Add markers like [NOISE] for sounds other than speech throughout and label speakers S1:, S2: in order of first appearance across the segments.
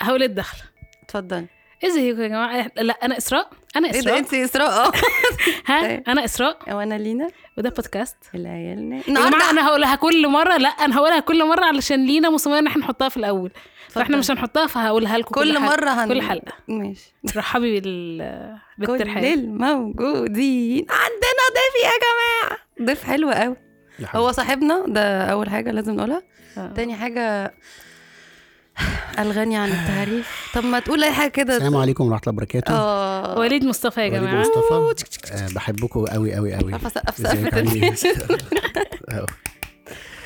S1: محاولة دخل
S2: اتفضلي
S1: ازيكم يا جماعة إح- لا أنا إسراء أنا
S2: ايه ده
S1: إسراء
S2: انت [LAUGHS] اسراء اه
S1: ها
S2: إيه؟
S1: أنا إسراء
S2: وانا لينا
S1: وده بودكاست
S2: العيالنا
S1: يا جماعة
S2: النهارده
S1: أنا هقولها كل مرة لا أنا هقولها كل مرة علشان لينا مصممة إن احنا نحطها في الأول فاحنا
S2: اتفضلي.
S1: مش هنحطها فهقولها لكم
S2: كل
S1: حلقة.
S2: مره هن
S1: كل حلقة
S2: ماشي
S1: ترحبي بال
S2: كل
S1: بالترحاب
S2: الموجودين عندنا ضيف يا جماعه ضيف حلو قوي
S3: يا حبيبي.
S2: هو صاحبنا ده اول حاجه لازم نقولها
S1: آه.
S2: تاني حاجه الغني عن التعريف طب ما تقول اي حاجه كده
S3: السلام عليكم ورحمه الله وبركاته
S2: اه
S1: وليد مصطفى يا
S3: وليد
S1: جماعة
S3: مصطفى آه، بحبكم قوي قوي قوي
S2: عارفه سقف
S3: ازيك
S2: سقف
S3: عامل
S2: الدنيا.
S3: ايه؟ أهو.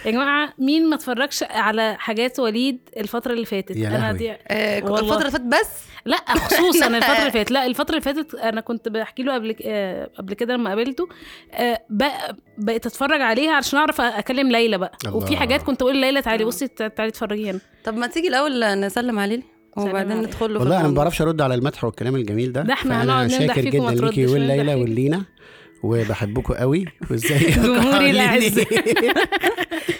S1: يا جماعة مين ما اتفرجش على حاجات وليد الفترة اللي فاتت
S3: يا
S1: أنا
S3: لهوي.
S1: دي
S2: آه،
S1: والله.
S2: الفتره اللي فاتت بس
S1: لا
S3: [LAUGHS]
S1: خصوصا الفتره اللي فاتت لا الفتره اللي فاتت انا كنت بحكي له قبل آه، قبل كده لما قابلته آه، بق- بقيت اتفرج عليها عشان اعرف اكلم ليلى بقى
S3: الله.
S1: وفي حاجات كنت اقول ليلى تعالي بصي تع- تعالي اتفرجي هنا
S2: طب ما تيجي الاول نسلم على ليلى
S1: سلام
S2: وبعدين
S1: عليكم.
S2: ندخل له في
S3: والله انا ما
S2: الموضوع.
S3: بعرفش ارد على المدح والكلام الجميل ده
S1: ده إحنا
S3: فأنا
S1: هنقعد نمدح
S3: شاكر
S1: فيكم وما
S3: جدا ليكي
S1: تردش
S3: والليلى
S1: ونمدح
S3: واللينا وبحبكم قوي
S2: [LAUGHS]
S3: وازيك [LAUGHS]
S1: جمهوري الأعز.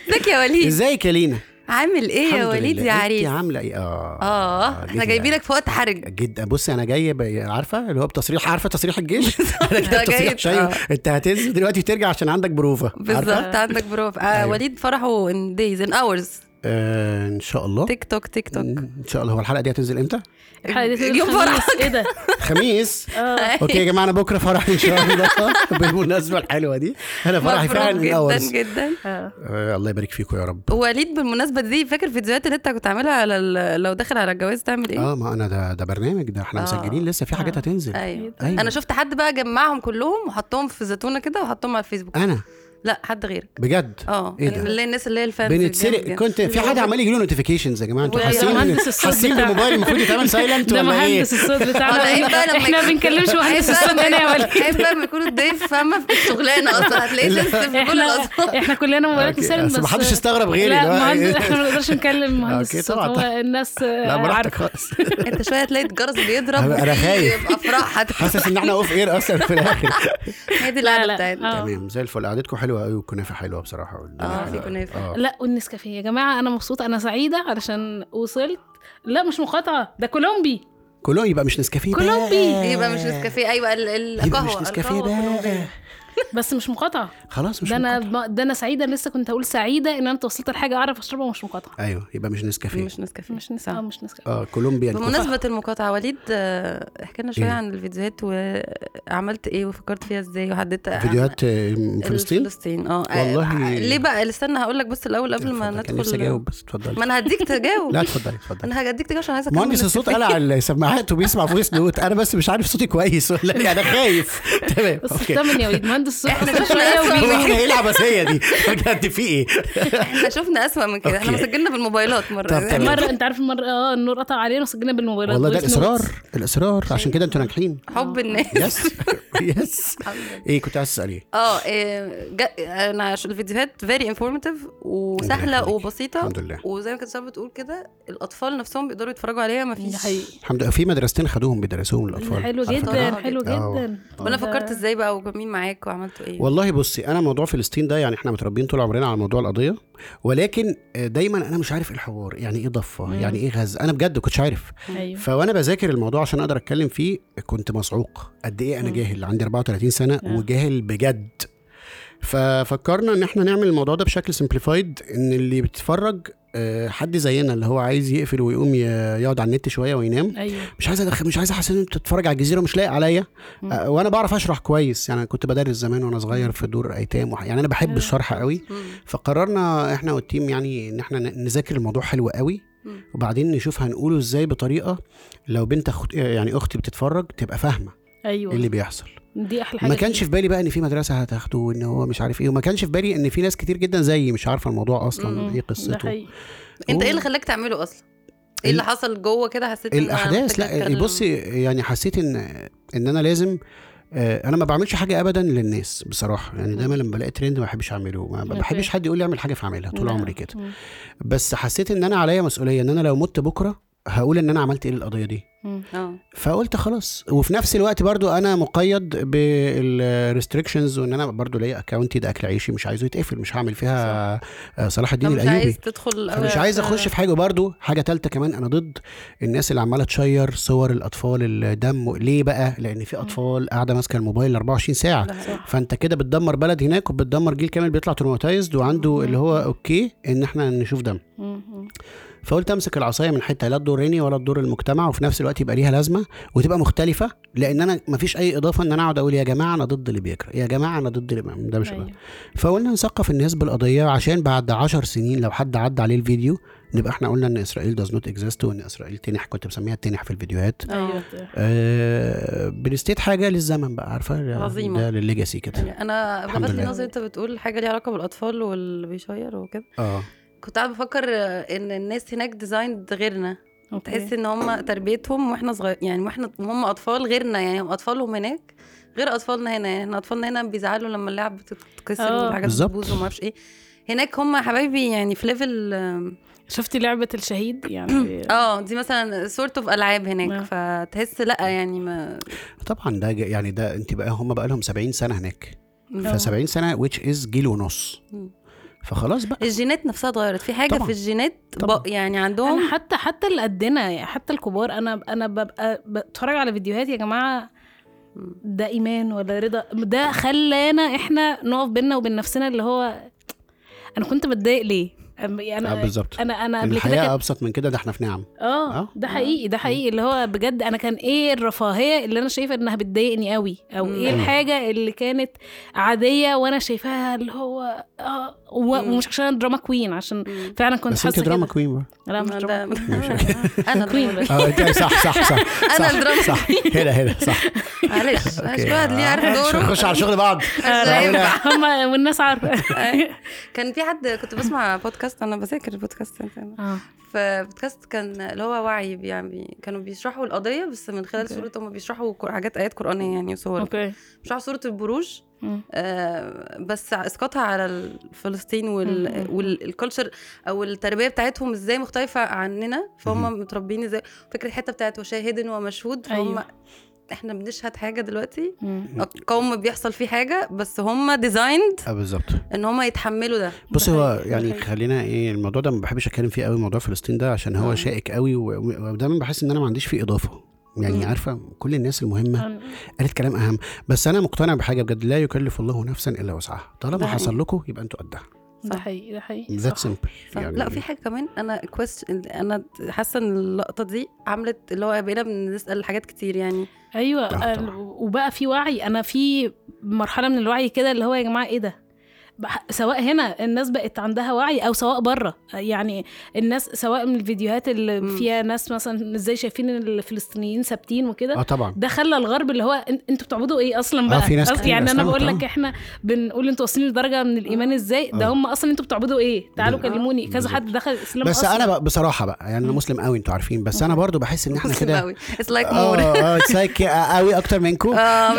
S2: ازيك يا وليد
S3: ازيك يا لينا
S2: عامل ايه يا
S3: الحمد
S2: وليد
S3: لله. إيه
S2: يا
S3: انت
S2: عريس
S3: عامله ايه اه
S2: اه احنا
S3: جيتي
S2: جايبينك في وقت حرج
S3: جدا بصي انا جاي ب- عارفه اللي هو بتصريح عارفه
S2: [LAUGHS]
S3: تصريح الجيش
S2: ده
S3: انا جاي بتصريح
S2: جاي-
S3: شيء
S2: آه.
S3: انت هتنزل دلوقتي وترجع عشان عندك بروفه عارفه
S2: بالظبط عندك بروف آه
S3: أيوة.
S2: وليد فرحه ان دايز ان اورز
S3: آه ان شاء الله
S2: تيك توك تيك [LAUGHS] توك
S3: ان شاء الله هو الحلقه دي هتنزل امتى
S1: الحلقه دي تنزل
S2: يوم
S1: الخميس. ايه ده
S3: خميس
S1: اه
S2: أيوه.
S3: اوكي يا جماعه انا بكره فرح ان شاء الله [LAUGHS] بالمناسبه الحلوه دي انا فرحي
S2: مبروك
S3: فعلا من اورز
S2: جدا جدا
S3: [LAUGHS]
S1: آه.
S3: آه، الله يبارك فيكم يا رب
S2: وليد بالمناسبه دي فاكر الفيديوهات اللي انت كنت عاملها على ال- لو داخل على الجواز تعمل ايه؟
S3: اه ما انا ده ده برنامج ده احنا
S2: آه.
S3: مسجلين لسه في حاجات
S1: آه.
S3: هتنزل
S2: ايوه
S3: أيوة.
S2: انا شفت حد بقى جمعهم كلهم وحطهم في زيتونه كده وحطهم على الفيسبوك
S3: انا
S2: لا حد غيرك
S3: بجد
S1: آه.
S2: اه
S3: إيه
S2: إيه
S3: ده؟
S2: اللي الناس اللي هي الفانز
S3: بنتسرق
S2: الجامدة.
S3: كنت في حد عمال يجي له نوتيفيكيشنز يا جماعه انتوا
S2: ويا
S3: حاسين
S1: مهندس الصوت
S3: حاسين
S1: بتاعنا.
S3: بالموبايل المفروض
S1: [LAUGHS]
S3: يتعمل سايلنت
S1: ده
S3: [LAUGHS] ولا ايه؟
S1: مهندس الصوت بتاعنا
S2: آه، ده عيب بقى لما
S1: احنا ما
S2: يكون-
S3: [LAUGHS]
S1: بنتكلمش
S2: عيب
S1: مهندس
S2: بقى
S1: الصوت
S2: لما
S1: هنا يا
S2: يكون-
S1: [LAUGHS] وليد
S2: عيب بقى لما يكون الضيف فاهمه في الشغلانه اصلا هتلاقيه سنسيتيف في كل
S1: احنا
S2: الاصوات
S1: احنا
S3: [LAUGHS]
S1: كلنا موبايلات
S3: آه، أوكي،
S1: مسالم بس
S3: أصل محدش استغرب غيري
S1: لا
S3: اللي هو
S1: مهندس
S3: إيه.
S1: احنا [LAUGHS] ما نقدرش نكلم مهندس
S3: [LAUGHS] أوكي،
S1: الصوت
S3: طبعا.
S1: هو الناس آه،
S3: لا براحتك
S1: عارفة.
S3: خالص
S2: انت شويه تلاقي الجرس بيضرب
S3: أنا خايف.
S2: يبقى افراح هت-
S3: حاسس ان احنا اوف اير اصلا في الاخر
S2: هي دي
S1: لا
S2: القعده بتاعتنا
S1: لا [LAUGHS] آه.
S3: تمام زي الفل قعدتكم حلوه قوي والكنافه حلوه بصراحه والدنيا
S2: آه، في
S3: حلوة.
S2: كنافة.
S3: آه.
S1: لا والنسكافيه يا جماعه انا مبسوطه انا سعيده علشان وصلت لا مش مقاطعه ده كولومبي
S3: كله يبقى مش نسكافيه بقى.
S1: كولومبي.
S2: يبقى مش نسكافيه ايوه ال- ال-
S3: يبقى
S2: القهوه
S3: مش نسكافيه
S2: القهوة
S3: بقى
S1: بس مش مقاطعه
S3: خلاص [LAUGHS] مش
S1: ده انا
S3: مقاطعة.
S1: ده انا سعيده لسه كنت هقول سعيده ان انا توصلت لحاجه اعرف اشربها ومش مقاطعه
S3: ايوه يبقى مش نسكافيه
S2: مش نسكافيه
S1: مش نسكافيه اه مش
S3: [LAUGHS]
S1: نسكافيه
S3: اه كولومبيا
S2: بمناسبة المقاطعة وليد آه، احكي لنا شوية
S3: إيه؟
S2: عن الفيديوهات وعملت ايه وفكرت فيها ازاي وحددت أهم-
S3: فيديوهات آه، من
S2: ال-
S3: فلسطين
S2: فلسطين اه
S3: والله-
S2: آه، ليه بقى استنى هقول لك بس الأول قبل ما
S3: اتفضل، كان نفسي
S2: ندخل
S3: اجاوب بس اتفضل
S2: ما انا هديك تجاوب
S3: لا اتفضلي اتفضلي
S2: انا هديك تجاوب عشان عايزة أكمل
S3: مهندس الصوت قلع السماعات وبيسمع فويس نوت انا بس مش عارف صوتي كويس ولا إيه، انا خايف
S2: [LAUGHS]
S3: تمام
S1: بس
S3: اوكي
S1: اطمن يا وليد
S3: [LAUGHS]
S1: مهندس صوت
S2: إحنا
S1: أصلاً
S2: شفنا
S1: شويه
S2: أسوأ
S3: هو
S1: وبيجي.
S3: احنا ايه العبثيه دي بجد في ايه
S2: احنا [LAUGHS] شفنا أسوأ من كده احنا
S3: أوكي.
S2: مسجلنا بالموبايلات مرة
S3: طب تمام.
S1: مره انت عارف المره اه النور قطع علينا وسجلنا بالموبايلات
S3: والله ده
S1: voice notes.
S3: الاصرار الاصرار عشان كده
S2: [LAUGHS]
S3: انتوا ناجحين
S2: حب الناس
S3: [LAUGHS] يس يس ايه كنت عايز اسال ايه
S2: اه إيه، جا- انا عش- الفيديوهات فيري انفورماتيف وسهله
S3: يخليك.
S2: وبسيطه
S3: الحمد لله
S2: وزي ما كنت شباب بتقول كده الاطفال نفسهم بيقدروا يتفرجوا عليها ما
S1: ده
S2: فيش
S1: حقيقي
S3: الحمد لله في مدرستين خدوهم بيدرسوهم للاطفال
S1: حلو
S3: على فكرة.
S1: جدا
S2: فكرة.
S1: حلو
S3: آه.
S1: جدا
S2: طب انا
S1: ده-
S2: فكرت ازاي بقى ومين معاك وعملتوا ايه
S3: والله بصي انا موضوع فلسطين ده يعني احنا متربيين طول عمرنا على موضوع القضيه ولكن آه، دايما انا مش عارف إيه الحوار يعني ايه ضفه يعني ايه غزه انا بجد كنتش عارف
S1: ايوه
S3: فوانا بذاكر الموضوع عشان اقدر اتكلم فيه كنت مصعوق قد ايه انا
S1: مم.
S3: جاهل عندي 34 سنه
S1: آه.
S3: وجاهل بجد ففكرنا ان احنا نعمل الموضوع ده بشكل سمبليفايد ان اللي بيتفرج آه، حد زينا اللي هو عايز يقفل ويقوم ي- يقعد على النت شويه وينام
S1: ايوه
S3: مش عايز أدخل مش عايز احس ان انت بتتفرج على الجزيره مش لايق عليا
S1: مم.
S3: أه، وانا بعرف اشرح كويس يعني أنا كنت بدرس زمان وانا صغير في دور ايتام وح... يعني انا بحب
S1: آه.
S3: الشرح قوي
S2: مم.
S3: فقررنا احنا والتيم يعني ان احنا ن- نذاكر الموضوع حلو قوي
S2: مم.
S3: وبعدين نشوف هنقوله ازاي بطريقه لو بنت أخت... يعني اختي بتتفرج تبقى فاهمه ايه اللي
S1: ايوه
S3: بيحصل
S1: دي احلى حاجه
S3: ما كانش في بالي بقى ان في مدرسه هتاخده وان هو مش عارف ايه وما كانش في بالي ان في ناس كتير جدا زيي مش عارفه الموضوع اصلا
S2: مم.
S3: ايه
S1: ده
S3: قصته
S1: حقيقي
S2: انت
S3: و-
S2: ايه اللي خلاك تعمله اصلا ايه اللي حصل جوه كده حسيت إن أنا
S3: الاحداث
S2: محتاجة
S3: لا
S2: أتكلم؟
S3: بصي يعني حسيت ان ان انا لازم آه، انا ما بعملش حاجه ابدا للناس بصراحه يعني دايما لما بلاقي ترند ما بحبش اعمله ما
S2: نعم.
S1: أوكي.
S3: بحبش حد يقول لي اعمل حاجه فاعملها طول
S1: لا.
S3: عمري كده
S1: مم.
S3: بس حسيت ان انا عليا مسؤوليه ان انا لو مت بكره هقول ان انا عملت ايه للقضيه دي
S1: مم.
S2: اه
S3: فقلت خلاص وفي نفس الوقت برضو انا مقيد بالريستريكشنز وان انا برضو ليا اكونت ده اكل عيشي مش عايزه يتقفل مش هعمل فيها آه، صلاح الدين
S2: طب مش عايز
S3: الايوبي
S2: تدخل
S3: فمش عايز اخش في حاجه برضو حاجه تالتة كمان انا ضد الناس اللي عماله تشير صور الاطفال الدم ليه بقى لان في اطفال قاعده ماسكه الموبايل 24 ساعه
S2: صح.
S3: فانت كده بتدمر بلد هناك وبتدمر جيل كامل بيطلع تروماتايزد وعنده اللي هو اوكي ان احنا نشوف دم
S1: مم.
S3: فقلت امسك العصايه من حته لا تضرني ولا تضر المجتمع وفي نفس الوقت يبقى ليها لازمه وتبقى مختلفه لان انا مفيش اي اضافه ان انا اقعد اقول يا جماعه انا ضد اللي بيكره يا جماعه انا ضد اللي ده مش
S1: أيوة.
S3: فقلنا نثقف الناس بالقضيه عشان بعد عشر سنين لو حد عدى عليه الفيديو نبقى احنا قلنا ان اسرائيل داز نوت اكزيست وان اسرائيل تنح كنت بسميها تنح في الفيديوهات
S1: ايوه
S3: آه بنستيت حاجه للزمن بقى عارفه
S2: عظيمة.
S3: ده للليجاسي كده
S2: انا
S3: الحمد
S2: لفت لي
S3: لله.
S2: نظري انت بتقول حاجه ليها علاقه بالاطفال واللي بيشير وكده
S3: اه
S2: كنت قاعده بفكر آه، ان الناس هناك ديزايند غيرنا تحس
S1: تحس
S2: ان هم تربيتهم واحنا صغير يعني واحنا هم اطفال غيرنا يعني هم اطفالهم هناك غير اطفالنا هنا يعني احنا اطفالنا هنا بيزعلوا لما اللعب بتتكسر
S1: آه.
S2: والحاجات
S3: بالظبط.
S2: بتبوظ وما اعرفش ايه هناك هم يا حبايبي يعني في ليفل آم،
S1: شفتي لعبه الشهيد يعني
S2: اه دي مثلا سورت اوف العاب هناك
S1: آه.
S2: فتحس لا يعني ما
S3: طبعا ده ج- يعني ده انت بقى هم بقى لهم 70 سنه هناك
S1: آه.
S3: ف 70 سنه which is جيل ونص
S2: مم.
S3: فخلاص بقى
S2: الجينات نفسها اتغيرت في حاجه
S3: طبعاً.
S2: في الجينات
S3: طبعاً.
S2: بق يعني عندهم
S1: انا حتى حتى اللي قدنا يعني حتى الكبار انا انا ببقى بتفرج على فيديوهات يا جماعه ده ايمان ولا رضا ده خلانا احنا نقف بينا وبين نفسنا اللي هو انا كنت متضايق ليه أم-
S3: آه،
S1: انا
S3: بالظبط
S1: انا انا قبل كده
S3: الحياه
S1: كانت-
S3: ابسط من كده ده احنا في نعم آه.
S1: اه ده حقيقي ده حقيقي اللي هو بجد انا كان ايه الرفاهيه اللي انا شايفه انها بتضايقني قوي او
S2: مم.
S1: ايه الحاجه اللي كانت عاديه وانا شايفاها اللي هو اه و-
S2: مم.
S1: ومش عشان أنا دراما كوين عشان
S2: مم.
S1: فعلا كنت
S3: بس انت
S1: حاسه
S3: دراما
S1: كده
S3: كوين بقى
S1: لا مش آه، دراما
S2: آه، [LAUGHS] ده-
S3: [LAUGHS]
S2: انا
S1: كوين.
S2: كوين
S3: اه انت صح صح صح صح،
S2: الدراما.
S3: صح هنا هنا صح
S2: معلش
S1: [LAUGHS]
S3: اوكي.
S2: مش واحد ليه عارف
S3: آه،
S2: دوره
S3: نخش على شغل
S2: [LAUGHS]
S3: بعض
S2: لا
S3: ينفع.
S1: هم
S2: [LAUGHS]
S1: والناس عارفه
S2: أيوة. كان في حد كنت بسمع بودكاست انا بذاكر البودكاست أنت-
S1: اه
S2: فبودكاست كان اللي هو وعي يعني كانوا بيشرحوا القضيه بس من خلال
S1: أوكي.
S2: صوره هم بيشرحوا كو- حاجات ايات قرانيه يعني وصور
S1: اوكي
S2: بيشرحوا صوره البروج
S1: مم.
S2: آه، بس اسقاطها على ال- فلسطين
S1: مم.
S2: وال والكلتشر او التربيه بتاعتهم ازاي مختلفه عننا فهم
S3: مم.
S2: متربيين ازاي فكره الحته بتاعت وشاهد ومشهود فهم
S1: أيوة.
S2: احنا بنشهد حاجه دلوقتي
S1: مم.
S2: قوم بيحصل فيه حاجه بس هم ديزايند [LAUGHS]
S3: اه بالظبط
S2: ان هم يتحملوا ده
S3: بص هو
S1: بحقيقي،
S3: يعني
S1: بحقيقي.
S3: خلينا ايه الموضوع ده ما بحبش اتكلم فيه قوي موضوع فلسطين ده عشان هو
S2: آه.
S3: شائك قوي و- ودايما بحس ان انا ما عنديش فيه اضافه يعني
S2: مم. آه.
S3: عارفه كل الناس المهمه
S1: أنا-
S3: قالت كلام اهم بس انا مقتنع بحاجه بجد لا يكلف الله نفسا الا وسعها
S2: ده
S3: طالما
S2: حقيقي.
S3: حصل لكم يبقى انتوا قدها
S1: ده
S2: صح.
S1: حقيقي ده حقيقي
S3: ذات
S1: صح.
S3: سمبل
S2: صح.
S3: يعني
S2: لا في حاجه كمان انا كويستشن انا حاسه ان اللقطه دي عملت اللي هو بقينا بنسال حاجات كتير يعني
S1: ايوه
S3: آه،
S1: آه،
S3: طبعاً.
S1: وبقى في وعي انا في مرحله من الوعي كده اللي هو يا جماعه ايه ده بح- سواء هنا الناس بقت عندها وعي او سواء بره يعني الناس سواء من الفيديوهات اللي
S2: مم.
S1: فيها ناس مثلا ازاي شايفين إن الفلسطينيين ثابتين وكده
S3: اه طبعا
S1: ده خلى الغرب اللي هو إن- انتوا بتعبدوا ايه اصلا
S3: آه،
S1: بقى
S3: في ناس
S1: قصدي
S3: كتير
S1: يعني انا
S3: أسلمت،
S1: بقول لك
S3: آه.
S1: احنا بنقول انتوا واصلين لدرجه من الايمان ازاي ده
S3: آه.
S1: هم اصلا انتوا بتعبدوا ايه تعالوا
S3: بالظبط.
S1: كلموني كذا
S3: بالظبط.
S1: حد دخل الاسلام
S3: بس
S1: أصلاً.
S3: انا بقى بصراحه بقى يعني انا مسلم قوي انتوا عارفين بس انا برضو بحس ان احنا [LAUGHS] كده
S2: اتس [LAUGHS] لايك مور
S3: [LAUGHS] اه اتس لايك قوي اكتر منكم
S2: اه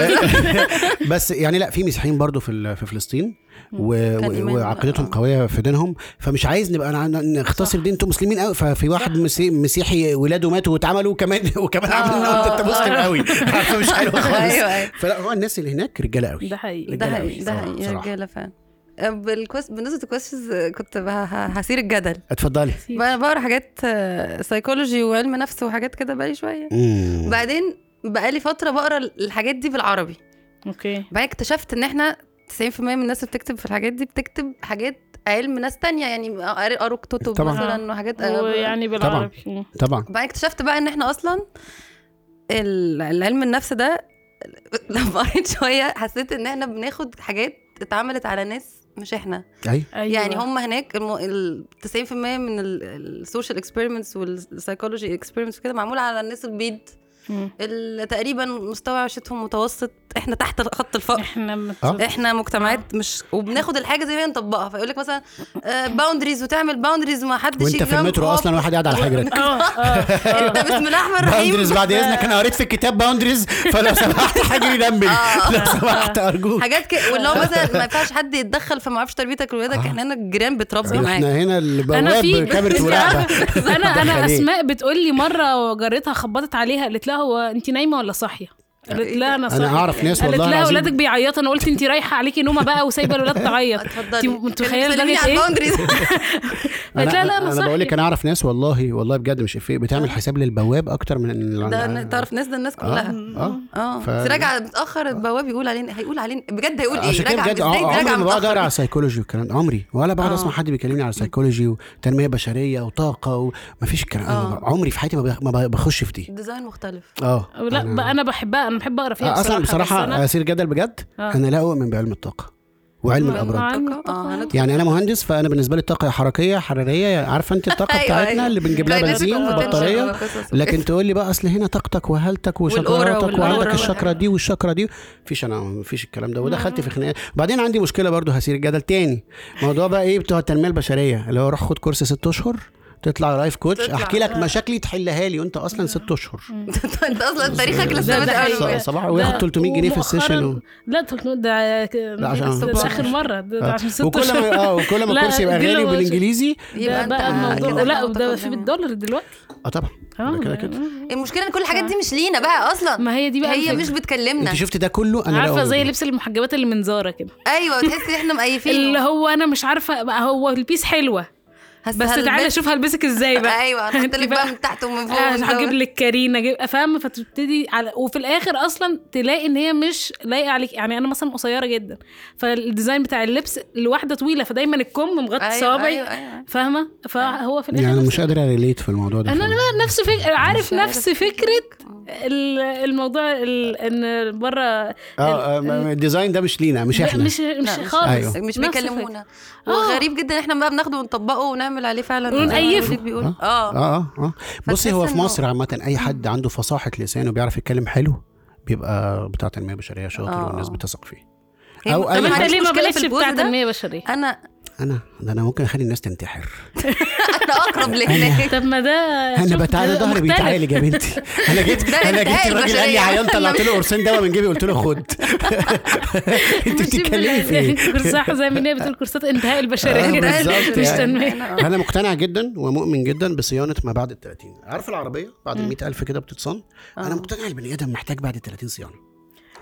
S3: بس يعني لا في مسيحيين برضو في ال- في فلسطين و...
S2: كان
S3: و...
S2: إيمان-
S3: وعقيدتهم
S2: آه.
S3: قويه في دينهم فمش عايز نبقى ن- ن- نختصر دين انتوا مسلمين قوي ففي واحد مسي... مسيحي ولاده ماتوا واتعملوا وكمان وكمان
S2: آه،
S3: عامل انه انت
S2: آه،
S3: مسلم
S1: آه.
S3: قوي عارفة مش حلو
S2: [LAUGHS]
S3: خالص
S2: ايوه ايوه
S3: فلا هو الناس اللي هناك رجاله قوي
S1: ده حقيقي
S2: ده
S3: رجالة أوي
S2: حقيقي ده
S3: صراحة-
S2: حقيقي
S3: صراحة.
S2: رجاله فعلا بالكويست بالنسبه للكويستشنز كنت ه- ه- هثير الجدل
S3: اتفضلي
S2: بقى- بقرا حاجات سايكولوجي وعلم نفس وحاجات كده بقالي شويه
S3: مم.
S2: بعدين بقالي فتره بقرا الحاجات دي بالعربي
S1: اوكي
S2: بعدين اكتشفت ان احنا 90% من الناس اللي بتكتب في الحاجات دي بتكتب حاجات علم ناس تانية يعني قار- قروا كتب
S3: طبعاً.
S2: مثلا وحاجات
S3: آه،
S2: آه،
S1: ويعني بالعربي
S3: طبعا
S2: بعدين اكتشفت بقى ان احنا اصلا ال- العلم النفس ده [LAUGHS] لما قريت شويه حسيت ان احنا بناخد حاجات اتعملت على ناس مش احنا
S3: ايوه
S1: أيوة.
S2: يعني هم هناك الم... ال 90% من السوشيال اكسبيرمنتس والسايكولوجي اكسبيرمنتس وكده معموله على الناس البيض
S1: مم.
S2: ال- تقريبا مستوى عيشتهم متوسط احنا تحت خط الفقر
S1: احنا مت...
S3: آه.
S2: احنا مجتمعات مش وبناخد الحاجه زي ما هي نطبقها فيقول لك مثلا باوندريز وتعمل باوندريز ما حدش
S3: وانت
S2: يجي
S3: في المترو
S2: جنبك.
S3: اصلا واحد قاعد على حجرك
S1: اه
S3: [LAUGHS]
S1: اه
S2: انت بسم الله الرحمن الرحيم
S3: باوندريز بعد إيه؟ اذنك انا قريت في الكتاب باوندريز
S2: [LAUGHS]
S3: فلو سمحت حجري دمج
S2: آه.
S3: لو سمحت ارجوك
S2: حاجات كده واللي هو مثلا ما ينفعش حد يتدخل في ما اعرفش تربيتك لولادك
S3: آه.
S2: احنا هنا الجيران بتربي معاك
S3: احنا هنا
S1: انا في
S3: البواب كاميرا مراقبه
S1: [LAUGHS] انا
S3: [LAUGHS]
S1: انا
S3: دخليه.
S1: اسماء بتقول لي مره جارتها خبطت عليها قالت لها هو انت نايمه ولا صاحيه قالت لا انا
S3: انا
S1: صاحيه
S3: اعرف ناس
S1: قالت
S3: والله
S1: لها اولادك
S3: العظيم
S1: بيعيطوا انا قلت انت رايحه عليكي نومه بقى وسايبه الولاد
S2: [LAUGHS]
S1: تعيط
S2: اتفضلي
S1: انت متخيله
S2: كلمني
S1: درجه
S2: على
S1: ايه
S2: الباوندريز
S3: [LAUGHS]
S1: قالت لها لا انا
S3: انا
S1: صاحيه
S3: بقول لك انا اعرف ناس والله والله بجد مش افيه بتعمل حساب للبواب اكتر من
S2: آه. ده تعرف ناس ده الناس كلها
S3: اه
S2: اه
S3: ف-
S2: بس راجع متاخر البواب يقول علينا هيقول علينا بجد هيقول ايه
S3: عشان كده
S2: راجع
S3: بجد
S2: ازاي
S3: اه
S2: راجع آه.
S3: عمري ما بقعد اقرا
S2: متاخر
S3: على السيكولوجي والكلام ده عمري ولا بقعد اسمع حد بيكلمني على السيكولوجي وتنميه بشريه وطاقه ومفيش الكلام أنا
S2: آه.
S3: عمري في حياتي ما بخ- ما بخش في دي
S2: ديزاين مختلف
S3: اه
S1: لا
S3: أنا-
S1: بقى انا بحبها انا بحب اقرا فيها
S3: آه، اصلا
S1: بس
S3: بصراحه
S1: أنا-
S3: اثير جدل بجد
S1: آه.
S3: انا لا اؤمن بعلم الطاقه وعلم
S1: مع- مع
S3: الامراض
S1: علم
S2: آه،
S1: الطاقة.
S2: هندخل.
S3: يعني انا مهندس فانا بالنسبه لي الطاقه حركيه حراريه عارفه انت الطاقه
S2: [LAUGHS] أيوة،
S3: بتاعتنا
S2: أيوة.
S3: اللي بنجيب لها
S2: Kinetic
S3: بنزين
S2: potential
S3: وبطاريه
S2: وقصص
S3: لكن تقول لي بقى اصل هنا طاقتك وهالتك
S2: طيب. والأورا
S3: وشطارتك
S2: والأورا
S3: وعندك
S2: والحاجات
S3: الشكره دي والشكره دي مفيش انا مفيش الكلام ده ودخلت في خناقات بعدين عندي مشكله برضو هسير الجدل تاني موضوع بقى ايه بتوع التنميه البشريه اللي هو روح خد كورس ست اشهر تطلع لايف كوتش
S2: تطلع.
S3: احكي لك مشاكلي تحلها لي وانت اصلا ست اشهر
S2: [LAUGHS] انت اصلا تاريخك لسه
S1: ده- ده
S2: بادئ
S1: حقيقي.
S2: اول
S1: ص-
S3: صباح وياخد
S1: ده-
S3: 300 جنيه في السيشن و...
S1: ومؤخراً- لا 300 ده ده
S3: عشان- [LAUGHS]
S1: اخر مره ده, ده
S3: آه.
S1: عشان ست
S3: وكل ما
S1: شهور
S3: اه وكل
S1: [LAUGHS]
S3: ما
S1: لا،
S3: الكورس يبقى
S1: دي
S3: غالي
S1: لو-
S3: وبالانجليزي
S1: ده
S2: يبقى
S1: بقى
S2: انت
S1: الموضوع
S2: كده
S1: لا ده
S2: متقدم.
S1: في بالدولار دلوقتي
S3: اه طبعا
S1: اه
S3: كده كده
S2: المشكله ان كل الحاجات دي مش لينا بقى اصلا
S1: ما هي دي بقى
S2: هي
S1: الفكرة.
S2: مش بتكلمنا
S3: انت شفت ده كله انا لا
S1: عارفه زي
S3: أؤمن.
S1: لبس المحجبات اللي من زارا كده
S2: ايوه تحس ان احنا مقيفين
S1: اللي هو انا مش عارفه بقى هو البيس حلوه
S2: هس-
S1: بس
S2: هلبس-
S1: تعالى شوف هلبسك ازاي بقى [LAUGHS]
S2: ايوه هنحط
S1: انت
S2: لك بقى
S1: بقى-
S2: من تحت ومن فوق
S1: آه،
S2: ومن
S1: هجيب
S2: تحت.
S1: لك كارينا جيب فاهمه فتبتدي على وفي الاخر اصلا تلاقي ان هي مش لايقه عليك يعني انا مثلا قصيره جدا فالديزاين بتاع اللبس لواحده طويله فدايما الكم مغطي
S2: أيوة،
S1: صوابعي
S2: أيوة، أيوة.
S1: فاهمه فهو في الاخر
S3: يعني
S1: نفس-
S3: مش قادر اريليت في الموضوع ده
S1: انا
S3: خالص.
S1: لا نفس فك... عارف
S2: مش عارف.
S1: نفس فكره ال- الموضوع ال...
S2: آه.
S1: ان بره
S3: اه آه، ما- ما- الديزاين ده مش لينا مش احنا
S1: مش مش
S2: لا، مش-
S1: خالص
S3: أيوة.
S2: مش
S1: نفس
S2: بيكلمونا
S1: آه.
S2: وغريب جدا احنا بقى بناخده ونطبقه ونعمل عليه فعلا
S1: ونقيفه.
S2: والديك بيقول
S3: آه.
S2: اه
S3: اه اه اه بصي
S2: فتحس
S3: هو في
S2: إنه-
S3: مصر عامه اي حد عنده فصاحه لسان وبيعرف يتكلم حلو بيبقى بتاع تنميه بشريه شاطر
S2: آه.
S3: والناس بتثق فيه
S2: هي
S3: أو
S2: م- أنا
S1: فكره
S3: أي
S1: طب
S2: ما
S1: انت
S2: عنديش
S1: ليه ما
S2: مشكلة في
S1: بقتش
S2: الجزء
S1: بتاع
S2: ده.
S1: تنميه بشريه
S2: انا
S3: انا ده انا ممكن اخلي الناس تنتحر
S2: انا
S3: [LAUGHS]
S2: اقرب [LAUGHS] لهناك
S1: طب ما ده
S2: آه،
S3: انا
S1: شفت
S3: بتعالى ظهري
S1: مختلف. [LAUGHS]
S3: بيتعالج
S2: [LAUGHS]
S3: يا بنتي انا جيت
S2: ده
S3: انا جيت
S2: الانتهاء
S3: الراجل قال
S2: البشرية.
S3: لي عيان طلعت له قرصين دواء من جيبي قلت له
S2: [LAUGHS]
S3: خد [LAUGHS] انت
S1: ماشيين
S3: بتتكلمي في ايه؟
S2: يعني
S1: [LAUGHS] بال- صح زي ما هي بتقول كورسات انتهاء
S3: آه،
S1: البشريه
S3: بالظبط
S1: مش
S3: يعني.
S2: [LAUGHS]
S1: تنميه
S2: آه.
S3: انا مقتنع جدا ومؤمن جدا بصيانه ما بعد ال 30 عارف العربيه بعد ال 100000 كده بتتصان
S2: آه.
S3: انا مقتنع البني ادم محتاج بعد ال 30 صيانه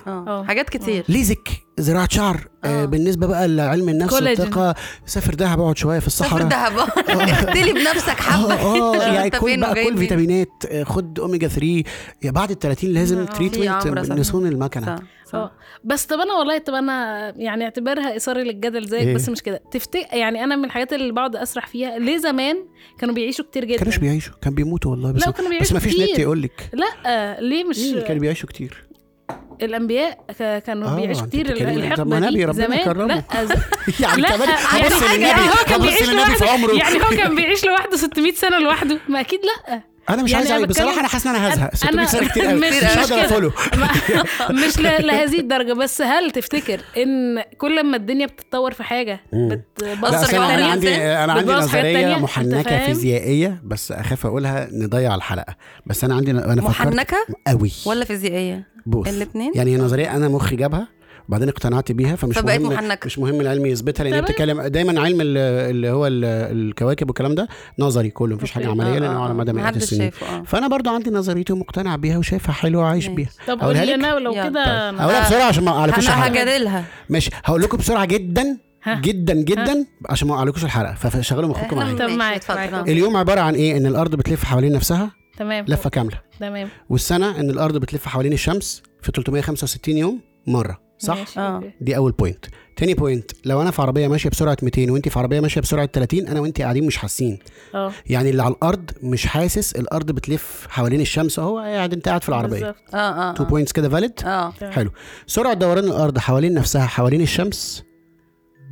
S2: اه حاجات كتير
S3: ليزك زراعه شعر آه. بالنسبه بقى لعلم النفس
S1: كولاجين.
S3: والثقه سافر دهب اقعد شويه في
S2: سافر
S3: الصحراء
S2: دهب اختلي بنفسك حبه
S1: [LAUGHS]
S3: اه اه آه. يعني
S2: أنت
S3: كل
S2: فين
S3: بقى
S2: وجاي
S3: كل
S2: منين؟
S3: فيتامينات آه، خد اوميجا 3 يا بعد ال 30 لازم
S2: في
S3: تريتمنت
S2: عمرة صح.
S3: لصون المكنه
S2: صح، صح.
S1: اه بس طب انا والله طب انا يعني اعتبرها اثاره للجدل زيك
S3: إيه؟
S1: بس مش كده تفتكر يعني انا من الحاجات اللي بقعد اسرح فيها ليه زمان كانوا بيعيشوا كتير جدا
S3: كانوش بيعيشوا كان بيموتوا والله بس
S1: لا، كانوا
S3: بس
S1: بيعيشوا
S3: ما فيش
S1: كتير.
S3: نت يقول لك
S1: لا ليه مش
S2: إيه؟
S3: كانوا بيعيشوا كتير
S1: [LAUGHS]
S3: [LAUGHS]
S1: الانبياء ك- كانوا
S3: آه،
S1: بيعيشوا
S3: أنت
S1: كتير
S3: بتتكلمي- طب ما
S1: الحقبه
S3: نبي
S1: دي
S3: ربنا
S1: زمان
S3: كرمه.
S1: لا ز-
S3: [LAUGHS] يعني
S1: لا
S3: كمان
S1: يعني
S3: هبص
S1: حاجة-
S3: للنبي
S1: يعني هو كان
S3: هبص
S1: بيعيش
S3: للنبي في
S1: لوحده
S3: عمره
S1: يعني هو كان بيعيش لوحده 600 سنه لوحده ما اكيد لا
S3: انا مش
S1: يعني
S3: عايز
S1: أنا
S3: عايز
S1: بتكلم-
S3: بصراحه انا حاسس ان انا هزهق
S1: أنا-
S3: 600 سنه كتير قوي
S1: مش-
S3: مش هقدر
S1: مش كده.
S3: افولو
S1: ما- [LAUGHS] مش ل- لهذه الدرجه بس هل تفتكر ان كل ما الدنيا بتتطور في حاجه
S3: لا،
S1: بتبصر
S3: أصل
S2: كمان
S3: انا انا
S2: تانية
S3: عندي
S2: إزاي؟
S3: انا عندي
S1: بتبوظ حاجات
S3: نظريه
S1: تانية، أنت
S3: محنكه
S1: فاهم؟
S3: فيزيائيه بس اخاف اقولها نضيع الحلقه بس انا عندي انا فكرت
S2: محنكه
S3: قوي
S2: ولا فيزيائيه
S3: بوث
S2: الاتنين؟
S3: يعني هي نظريه انا مخي جابها وبعدين اقتنعت بيها فمش
S2: فبقت
S3: مهم
S2: محنكة.
S3: مش مهم العلم يثبتها لان هي
S1: تمام.
S3: بتتكلم دايما علم ال- اللي هو ال- الكواكب والكلام ده نظري كله مفيش حاجه
S1: أوكي.
S3: عمليه
S2: آه،
S3: لانه
S2: آه،
S3: على مدى مئات
S2: محدش
S3: السنين
S2: شايفه، آه.
S3: فانا برضو عندي نظريتي ومقتنع بيها وشايفها حلوه وعايش
S2: ماشي.
S3: بيها طيب.
S1: طب
S3: أقولها
S1: قولي لي
S3: لك؟
S1: انا لو
S2: يلا.
S1: كده أنا-
S3: هقولها بسرعه عشان ما اعرفش
S2: انا
S3: الحلقه
S2: هجادلها
S3: ماشي هقول لكم بسرعه جدا
S1: ها.
S3: جدا
S1: أه.
S3: جدا عشان ما اعلقوش الحلقه فشغلوا مخكم
S2: احنا
S3: معايا
S1: طب
S2: ماشي،
S1: معاك،
S2: اتفضل.
S1: معاك.
S2: آه.
S3: اليوم عباره عن ايه ان الارض بتلف حوالين نفسها
S1: تمام
S3: لفه كامله
S1: تمام
S3: والسنه ان الارض بتلف حوالين الشمس في 365 يوم مره صح
S1: ماشي،
S2: آه.
S1: أوكي.
S3: دي اول بوينت تاني بوينت لو انا في عربيه ماشيه بسرعه 200 وانت في عربيه ماشيه بسرعه 30 انا وانت قاعدين مش حاسين
S1: اه
S3: يعني اللي على الارض مش حاسس الارض بتلف حوالين الشمس اهو قاعد انت قاعد في العربيه
S1: بالظبط. آه.
S2: اه اه
S3: تو
S2: آه.
S3: بوينتس كده فاليد
S2: اه
S1: تمام.
S3: حلو سرعه دوران الارض حوالين نفسها حوالين الشمس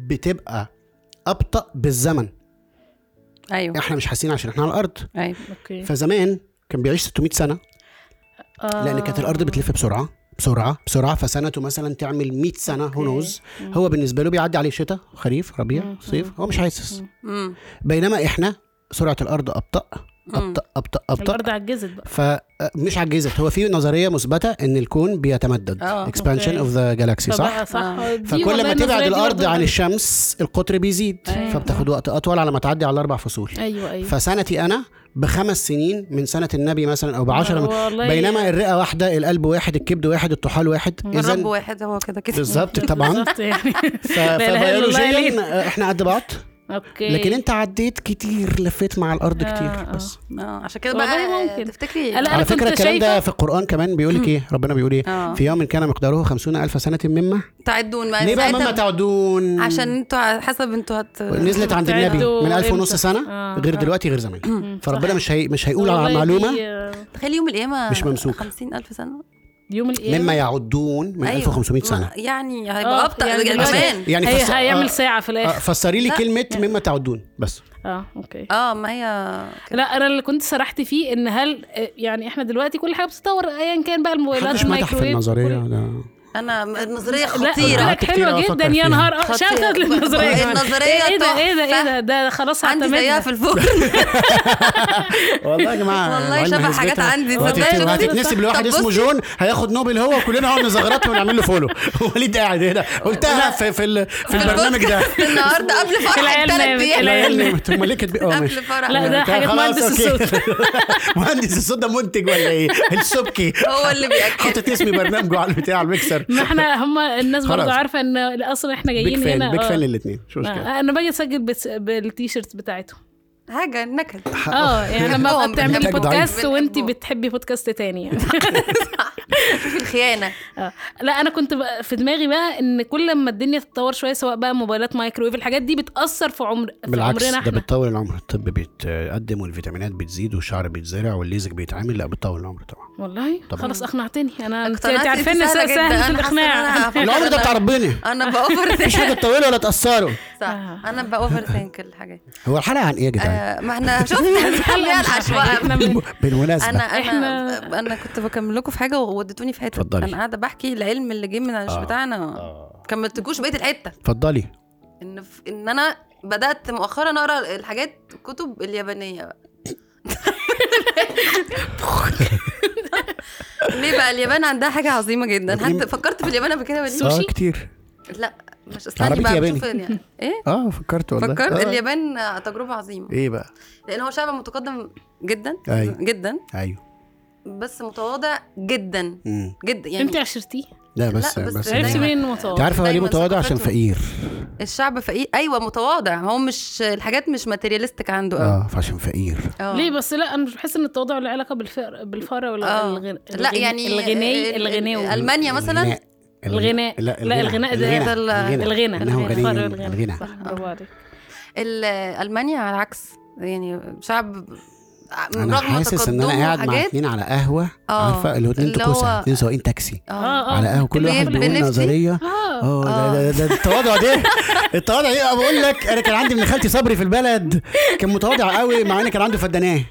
S3: بتبقى ابطا بالزمن
S2: ايوه أيوه.
S3: احنا مش حاسين عشان احنا على الارض
S1: إيه.
S2: ايوه
S1: اوكي
S3: فزمان كان بيعيش 600 سنه
S1: آه.
S3: لان كانت الارض بتلف بسرعه بسرعه بسرعه فسنته مثلا تعمل 100 سنه
S1: أوكي.
S3: هونوز
S1: مم.
S3: هو بالنسبه له بيعدي عليه شتاء خريف ربيع
S1: مم.
S3: صيف هو مش حاسس
S1: مم.
S2: مم.
S3: بينما احنا سرعه الارض ابطا ابطا ابطا ابطا
S1: الارض عجزت بقى
S3: فمش آه، عجزت هو في نظريه مثبته ان الكون بيتمدد
S2: آه،
S3: اكسبانشن
S1: أوكي.
S3: اوف ذا جالاكسي صح
S1: فبقى صح
S2: آه.
S1: دي
S3: فكل
S1: والله
S3: ما تبعد
S1: النظرية دي
S3: الارض
S1: برضه
S3: عن
S1: غلط.
S3: الشمس القطر بيزيد
S1: أيوة.
S3: فبتاخد وقت اطول على ما تعدي على الاربع فصول
S1: ايوه ايوه
S3: فسنتي انا بخمس سنين من سنه النبي مثلا او بعشرة
S1: والله
S3: بينما الرئه واحده القلب واحد الكبد واحد الطحال واحد
S2: الرب
S1: [LAUGHS]
S3: اذا
S2: واحد هو كده كده
S3: بالظبط طبعا
S1: بالظبط يعني
S3: ف-
S1: لا إله إلا الله ليه؟
S3: فبيولوجيا احنا قد بعض
S1: اوكي
S3: لكن انت عديت كتير لفيت مع الارض
S1: آه،
S3: كتير
S1: آه.
S3: بس
S2: اه عشان كده
S1: والله
S2: بقى
S1: ممكن.
S2: تفتكري
S1: لا، أنا
S3: على فكره
S1: كنت
S3: الكلام ده
S1: شايفة-
S3: في القران كمان بيقول
S1: [LAUGHS]
S3: لك ايه ربنا بيقول ايه
S2: آه.
S3: في يوم كان مقداره خمسون الف سنه مما
S2: تعدون بقى
S1: طيب،
S3: ليه بقى مما
S2: ساعتها
S3: تعدون
S2: عشان انتوا على حسب انتوا هت
S3: نزلت عند النبي
S1: بتعدوا
S3: من ألف ونص
S1: إمتى؟
S3: سنة
S1: آه.
S3: غير دلوقتي غير
S1: [LAUGHS]
S3: زمان فربنا
S1: صح.
S3: مش هي... مش هيقول على
S1: والله دي،
S3: معلومة
S1: آه،
S2: تخيل يوم القيامة
S3: مش ممسوكة.
S2: 50000 سنة
S1: يوم القيامة
S3: مما يعدون من
S1: أيوه.
S2: أيوة.
S3: 1500 سنة
S2: ما- يعني
S1: آه،
S2: هيبقى ابطأ
S1: يعني
S2: يعني
S1: دلوقتي-
S2: كمان
S3: يعني
S1: هي
S3: فس-
S1: هيعمل
S3: آه،
S1: ساعة في
S3: آه،
S1: الآخر
S3: فسري لي
S2: لا.
S3: كلمة مما تعدون بس
S1: اه اوكي
S2: اه ما هي كده.
S1: لا انا اللي كنت سرحت فيه ان هل آه، يعني احنا دلوقتي كل حاجه بتتطور ايا كان بقى الموبايلات
S3: محدش مدح في النظرية
S1: كل-
S3: ده.
S2: انا النظرية
S1: لا
S2: خطيرة
S1: قلت لك
S3: كتير
S1: حلوه
S3: أوي
S1: جدا
S3: أفكر
S1: يا
S3: فيها.
S1: نهار اه
S2: خطيرة.
S1: شاطر للنظريه
S2: بقى-
S1: كمان.
S2: النظرية
S1: ايه ده ايه ده ايه ده
S2: تحفة.
S1: ده خلاص
S2: عندي زيها
S1: هعتمدها
S2: في
S1: [LAUGHS]
S2: الفرن
S3: والله يا جماعة
S2: [LAUGHS] والله
S3: العلم
S2: شبه
S3: هيثبتها.
S2: حاجات عندي،
S3: وهتت-
S2: صدقني.
S3: وهتتنسب لواحد
S2: طب
S3: اسمه
S2: بصي.
S3: جون هياخد نوبل هو وكلنا هنقعد نزغرطه ونعمل له فولو [LAUGHS] وليد قاعد هنا قلتها في في, ال... في البرنامج ده
S2: [LAUGHS] النهارده قبل فرح
S1: العيال
S2: الثلاث
S1: نامت،
S2: ايام
S1: العيال
S3: العيال نمت هم ليه كاتبين اه
S2: قبل
S3: ماشي
S2: فرح.
S1: لا، ده
S3: يعني
S1: حاجات
S3: خلاص،
S1: مهندس
S3: أوكي. [LAUGHS] مهندس الصوت ده منتج ولا ايه؟ السبكي
S2: هو اللي بيأكد
S3: حاطط اسمي برنامجه على البتاع على الميكسر
S1: ما احنا هم الناس
S3: خلاص.
S1: برضه عارفه ان اصلا احنا
S3: بيك
S1: جايين
S3: فان
S1: هنا
S3: بيك
S1: آه.
S3: فان للاثنين شو مشكله
S1: آه، انا باجي اسجل بس- بالتيشيرتس بتاعتهم
S2: حاجة نكد
S3: آه،
S1: اه يعني
S3: [LAUGHS]
S1: لما
S2: بنحبهم،
S1: ببقى بتعملي
S3: بنحبهم.
S1: بودكاست وانت
S2: بنحبهم.
S1: بتحبي بودكاست تاني يعني [LAUGHS]
S2: في الخيانة
S1: آه. لا انا كنت بقى في دماغي بقى ان كل ما الدنيا تتطور شويه سواء بقى موبايلات مايكرويف الحاجات دي بتاثر في عمر في
S3: بالعكس
S1: عمرنا
S3: ده
S1: احنا
S3: بتطول العمر الطب بيتقدم والفيتامينات بتزيد والشعر بيتزرع والليزك بيتعمل لا بتطول العمر طبعا
S1: والله
S3: طبعاً.
S1: خلاص اقنعتني انا انت
S2: اقتنعتي،
S1: انت عارفه
S2: انت
S1: ان
S2: سهلة
S1: سهل,
S2: جدا، أنا
S1: في
S2: حاسة إن أنا
S1: الاقناع
S2: هفكر.
S3: العمر ده بتاع ربنا
S2: انا بأوفر ثينك
S3: مفيش حاجه تطوله ولا تاثره
S2: صح انا بأوفر ثينك الحاجات
S3: هو الحلقه عن ايه يا جدعان؟
S2: آه، ما احنا
S1: [LAUGHS]
S2: شفنا الحلقة العشوائية
S1: احنا من-
S3: بالمناسبه
S2: انا انا
S1: إحنا-
S2: انا كنت بكمل لكم في حاجه ووديتوني في حته
S3: اتفضلي.
S2: انا قاعده بحكي العلم اللي جه من مش
S3: آه.
S2: بتاعنا
S3: آه.
S2: كملتلكوش بقيه الحته
S3: اتفضلي
S2: ان ف... ان انا بدات مؤخرا اقرا الحاجات الكتب اليابانيه بقى ليه بقى اليابان عندها حاجه عظيمه جدا حتى فكرت في اليابان قبل كده ولا ليه؟
S3: اه كتير
S2: لا مش استني
S3: عربية
S2: بقى
S3: ياباني.
S2: بشوف اليابان. ايه
S3: اه فكرت والله
S2: فكرت
S3: آه.
S2: اليابان تجربه عظيمه
S3: ايه بقى؟
S2: لان هو شعب متقدم جدا
S3: أيوة.
S2: جدا
S3: ايوه
S2: بس متواضع جدا
S3: مم.
S2: جدا يعني
S1: انت عشرتيه
S3: لا
S2: لا،
S3: بس
S2: بس
S3: بس
S2: دايماً-
S1: عرفتي
S3: انت
S1: منين المطور
S3: عارفه هو ليه
S2: دايماً
S3: متواضع عشان
S2: ثقافته.
S3: فقير
S2: الشعب فقير ايوه متواضع هو مش الحاجات مش ماتيريالستيك عنده قوي
S3: اه فعشان فقير
S2: اه
S1: ليه بس لا انا مش بحس ان التواضع له علاقه بالفقر بالفقر ولا
S2: آه.
S1: الغن...
S2: لا يعني
S1: الغني
S2: ال-
S1: الغناوي
S2: ال- ألمانيا مثلا؟
S3: الغناء.
S1: الغناء.
S3: لا
S1: لا، الغناء ده-
S2: ده ال-
S1: الغنى
S3: انه
S1: الغنى. الفقر
S3: غني
S1: والغنى.
S3: الغنى
S1: صح برافو عليك
S2: ال- المانيا على العكس يعني شعب
S3: انا
S2: رغم
S3: حاسس ان انا
S2: تقدمه
S3: قاعد مع
S2: وحاجات-
S3: اتنين على قهوه
S2: آه،
S3: عارفه اللي هو اتنين
S2: اللي
S3: تكوسه
S2: هو-
S3: اتنين سواقين تاكسي
S2: آه.
S1: اه
S3: على قهوه كل
S2: اللي هي
S3: واحد بيقول
S2: بنفسي.
S3: نظريه
S1: اه
S3: اه ده- ده ده- ده التواضع ده التواضع ايه بقول لك انا كان عندي ابن خالتي صبري في البلد كان متواضع قوي مع ان كان عنده فداناه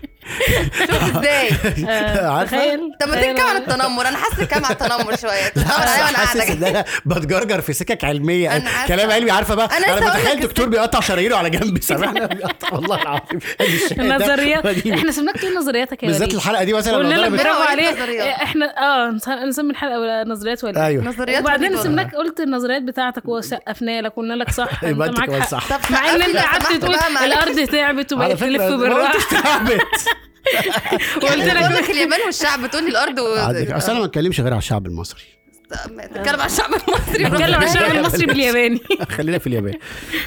S2: شوف ازاي
S1: آه،
S3: عارفة؟
S1: تخيل
S2: طب ما
S1: تخيل
S2: تتكلم عن التنمر انا حاسه كام على التنمر شويه تتنمر
S3: أنا
S2: عليا وانا قاعده
S3: [LAUGHS] حاسس ان
S2: كده.
S3: انا بتجرجر في سكك علميه
S2: أنا عارفة.
S3: كلام علمي عارفه بقى
S2: أنا لسه
S3: انا
S2: هقول
S3: بتخيل
S2: لك
S3: دكتور بيقطع شرايينه على جنب سامعنا بيقطع [LAUGHS] والله العظيم
S1: [LAUGHS]
S3: [LAUGHS]
S1: النظريات
S3: ودي-
S1: احنا سمناك تقول نظرياتك يا
S3: بالذات
S1: وليد.
S3: الحلقه دي مثلا
S1: قلنا
S3: لو
S1: لك
S3: ضربت-
S2: ربنا
S1: برافو
S2: وليد
S1: عليك
S2: نظريات.
S1: احنا اه نس- نسمي الحلقه ولا نظريات وليد
S3: ايوه
S2: نظريات
S1: وبعدين
S2: وليد ولا-
S1: سمناك قلت النظريات بتاعتك وسقفنا لك وقلنا لك صح انت
S3: [LAUGHS] يبقى انت
S1: معاك
S3: كمان
S1: حق
S3: صح
S2: طب
S1: مع ان انت
S2: لو
S1: قعدت
S2: سمحت
S1: تقول
S2: بقى معلش. [LAUGHS]
S1: الارض تعبت وبقت تلف
S3: ما
S1: بالراحه
S3: قلتش تعبت
S1: قلت
S2: يعني بقول
S1: لك
S2: لك اليابان والشعب بتقول لي الارض و... آه،
S3: عندك- اصل انا ما بتكلمش غير على الشعب المصري [LAUGHS]
S2: تتكلم عن الشعب المصري
S1: نتكلم عن الشعب
S3: بلاش.
S1: المصري بالياباني
S3: خلينا في اليابان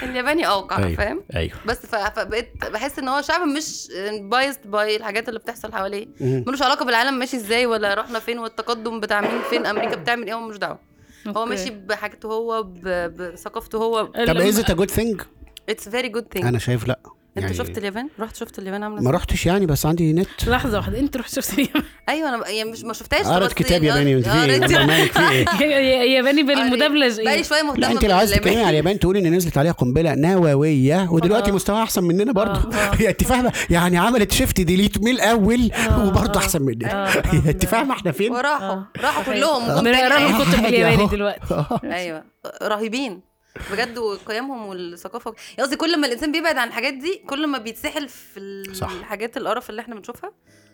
S2: الياباني اوقع
S3: ايوه
S2: فاهم
S3: ايوه
S2: بس ف- فبقيت بحس ان هو شعب مش بايست باي الحاجات اللي بتحصل حواليه
S3: مم.
S2: ملوش علاقه بالعالم ماشي ازاي ولا رحنا فين والتقدم بتاع مين فين امريكا بتعمل ايه هو مش دعوه هو
S1: أوكي.
S2: ماشي بحاجته هو ب- بثقافته هو
S1: ال-
S3: طب إيه از ات جود ثينج
S2: اتس فيري جود ثينج
S3: انا شايف لا
S2: انت
S3: يعني-
S2: شفت اليابان رحت شفت اليابان عامله
S3: ما
S2: ازاي؟
S3: رحتش يعني بس عندي نت
S1: لحظه واحده انت رحت شفتي [LAUGHS]
S2: ايوه انا ب- يعني مش ما شفتهاش
S3: قرأت
S2: بس
S3: كتاب
S1: إيه؟
S2: يعني
S3: ياباني انت
S1: آه،
S3: في ايه؟
S2: قريت-
S3: أمال مالك
S2: [LAUGHS]
S1: [LAUGHS]
S3: في ايه؟
S1: ياباني بالمدبلج
S2: بقالي
S1: ايه
S2: شويه مهتمه
S3: لا انت لو عايز تتكلمي
S2: باليابان.
S3: على اليابان تقولي ان نزلت عليها قنبله نوويه ودلوقتي
S1: آه.
S3: مستواها احسن مننا برضه
S1: آه.
S3: هي انت فاهمه يعني عملت شيفت ديليت من الاول
S1: آه.
S3: وبرضه
S1: آه.
S3: احسن مننا [LAUGHS]
S1: آه. آه.
S3: انت فاهمه احنا فين؟
S2: وراحوا
S1: آه.
S2: راحوا
S1: تخيل.
S2: كلهم جم تاني.
S1: بنقراهم
S3: [LAUGHS]
S1: كتب بالياباني دلوقتي
S2: ايوه رهيبين بجد وقيمهم والثقافه يعني قصدي كل ما الانسان بيبعد عن الحاجات دي كل ما بيتسحل في ال-
S3: صح.
S2: الحاجات القرف اللي احنا بنشوفها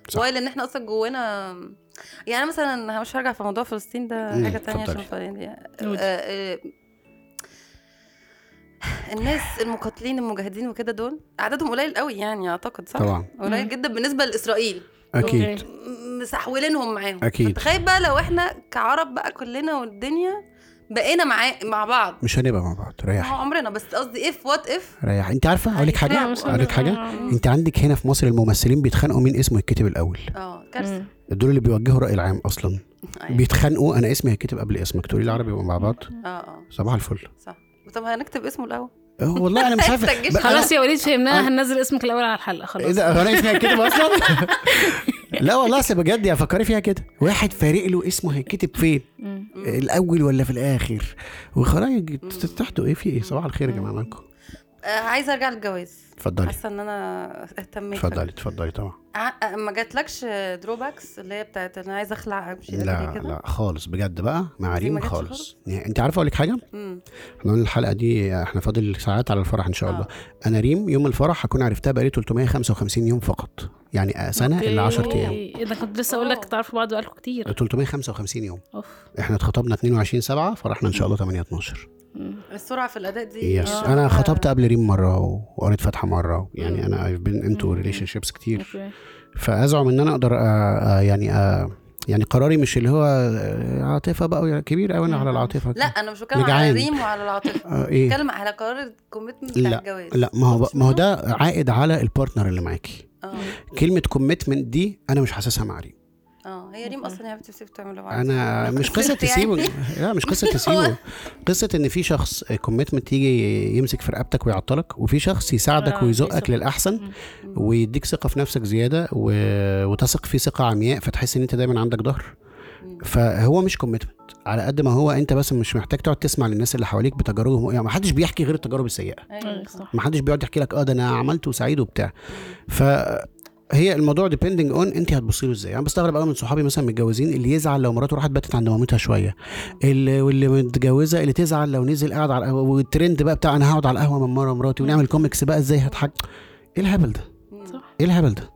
S3: صح.
S2: ولا ان احنا اصلا جوانا يعني أنا مثلا مش هرجع في موضوع فلسطين ده
S3: مم،
S2: حاجه تانية عشان
S3: اتفضلي.
S2: فلسطين دي- آه،
S1: قولي.
S2: آه، الناس المقاتلين المجاهدين وكده دول عددهم قليل قوي يعني اعتقد صح
S3: طبعا
S2: قليل
S1: مم.
S2: جدا بالنسبه لاسرائيل
S3: اكيد
S1: أوكي.
S2: مسحولينهم معاهم
S3: أكيد.
S2: تخيل بقى لو احنا كعرب بقى كلنا والدنيا بقينا مع مع بعض
S3: مش هنبقى مع بعض
S2: هو
S3: ريحي
S2: عمرنا بس قصدي اف وات اف
S3: ريحي انت عارفه اقول لك
S2: لا،
S3: حاجه
S1: أيوة،
S2: مش
S3: اقول لك حاجه انت عندك هنا في مصر الممثلين بيتخانقوا مين اسمه يتكتب الاول
S2: اه كارثه
S3: دول اللي بيوجهوا الراي العام اصلا
S2: أيوة.
S3: بيتخانقوا انا اسمي هيتكتب قبل اسمك تقولي لي عربي مع بعض
S2: اه اه
S3: صباح الفل
S2: صح طب هنكتب اسمه الاول
S3: اه
S2: [LAUGHS]
S3: والله انا مش عارف
S2: تستجيش
S3: بقى-
S1: خلاص يا وليد فهمناها
S3: أنا-
S1: هننزل اسمك الاول على الحلقه
S3: ايه
S1: خلاص
S3: ده هو انا اسمي هيتكتب اصلا
S2: [LAUGHS]
S3: لا والله اصل بجد يا فكري فيها كده واحد فارق له اسمه هيتكتب فين
S1: مم.
S3: الاول ولا في الاخر وخلاص يجي تحته ايه في ايه صباح الخير يا جماعه مالكم
S2: آه عايزه ارجع للجواز
S3: اتفضلي
S2: حاسه ان انا اهتميت
S3: اتفضلي اتفضلي طبعا
S2: ع- ما جاتلكش دروباكس اللي هي بتاعت انا عايزه اخلع امشي
S3: لا
S2: كده
S3: لا خالص بجد بقى
S2: ما
S3: معاريم
S2: جاتش
S3: خالص
S2: خالص؟
S3: يعني انت عارفه اقول لك حاجه
S2: مم.
S3: احنا قلنا الحلقه دي احنا فاضل ساعات على الفرح ان شاء
S2: آه.
S3: الله انا ريم يوم الفرح هكون عرفتها بقالي 355 يوم فقط يعني سنه الا 10 ايام
S1: إيه ده كنت لسه اقول لك تعرفوا بعض بقالكم
S3: أه.
S1: كتير
S3: 355 يوم
S1: اوف
S3: احنا اتخطبنا 22 7 فرحنا ان شاء الله 8 12
S1: مم.
S2: السرعه في الاداء دي
S3: يس
S2: آه.
S3: انا خطبت قبل ريم مره و- وقريت فاتحه مره و- يعني
S2: مم.
S3: انا I've been into
S2: إيه.
S1: مم.
S3: ريليشن شيبس كتير
S1: أوكي.
S3: فازعم ان انا اقدر أ- أ- يعني أ- يعني قراري مش اللي هو آه، عاطفه بقى يعني كبير قوي انا على العاطفه
S2: لا انا مش بتكلم على
S3: نجعان.
S2: ريم وعلى العاطفه
S3: آه، ايه
S2: بتكلم على قرار الكوميتمنت بتاع
S3: لا
S2: الجواز
S3: لا ما هو
S2: مش
S3: ما هو
S2: منه؟
S3: ده عائد على البارتنر اللي معاكي
S2: اه
S3: كلمه كوميتمنت دي انا مش حاسسها مع ريم
S2: اه هي ريم اصلا هي بتسيب تعمل لو عايزة.
S3: انا
S1: [LAUGHS]
S3: مش قصه
S2: يعني.
S3: تسيبه
S2: [LAUGHS]
S3: لا مش قصه تسيبه قصه ان في شخص كوميتمنت يجي يمسك في رقبتك ويعطلك وفي شخص يساعدك
S1: آه،
S3: ويزقك
S1: يزقك.
S3: للاحسن
S1: مم.
S3: ويديك ثقه في نفسك زياده و... وتثق فيه ثقه عمياء فتحس ان انت دايما عندك ظهر
S2: مم.
S3: فهو مش كوميتمنت على قد ما هو انت بس مش محتاج تقعد تسمع للناس اللي حواليك بتجاربهم يعني ما حدش بيحكي غير التجارب السيئه
S1: أيوة،
S2: ايوه
S1: صح
S3: ما حدش بيقعد يحكي لك اه ده انا عملت وسعيد وبتاع فهي الموضوع ديبندنج اون انت هتبصي له ازاي انا بستغرب قوي من صحابي مثلا متجوزين اللي يزعل لو مراته راحت باتت عند مامتها شويه اللي واللي متجوزه اللي تزعل لو نزل قاعد على القهوه والترند بقى بتاع انا هقعد على القهوه من مره مراتي ونعمل كوميكس بقى ازاي هضحك ايه الهبل ده
S2: مم.
S1: صح.
S3: ايه الهبل ده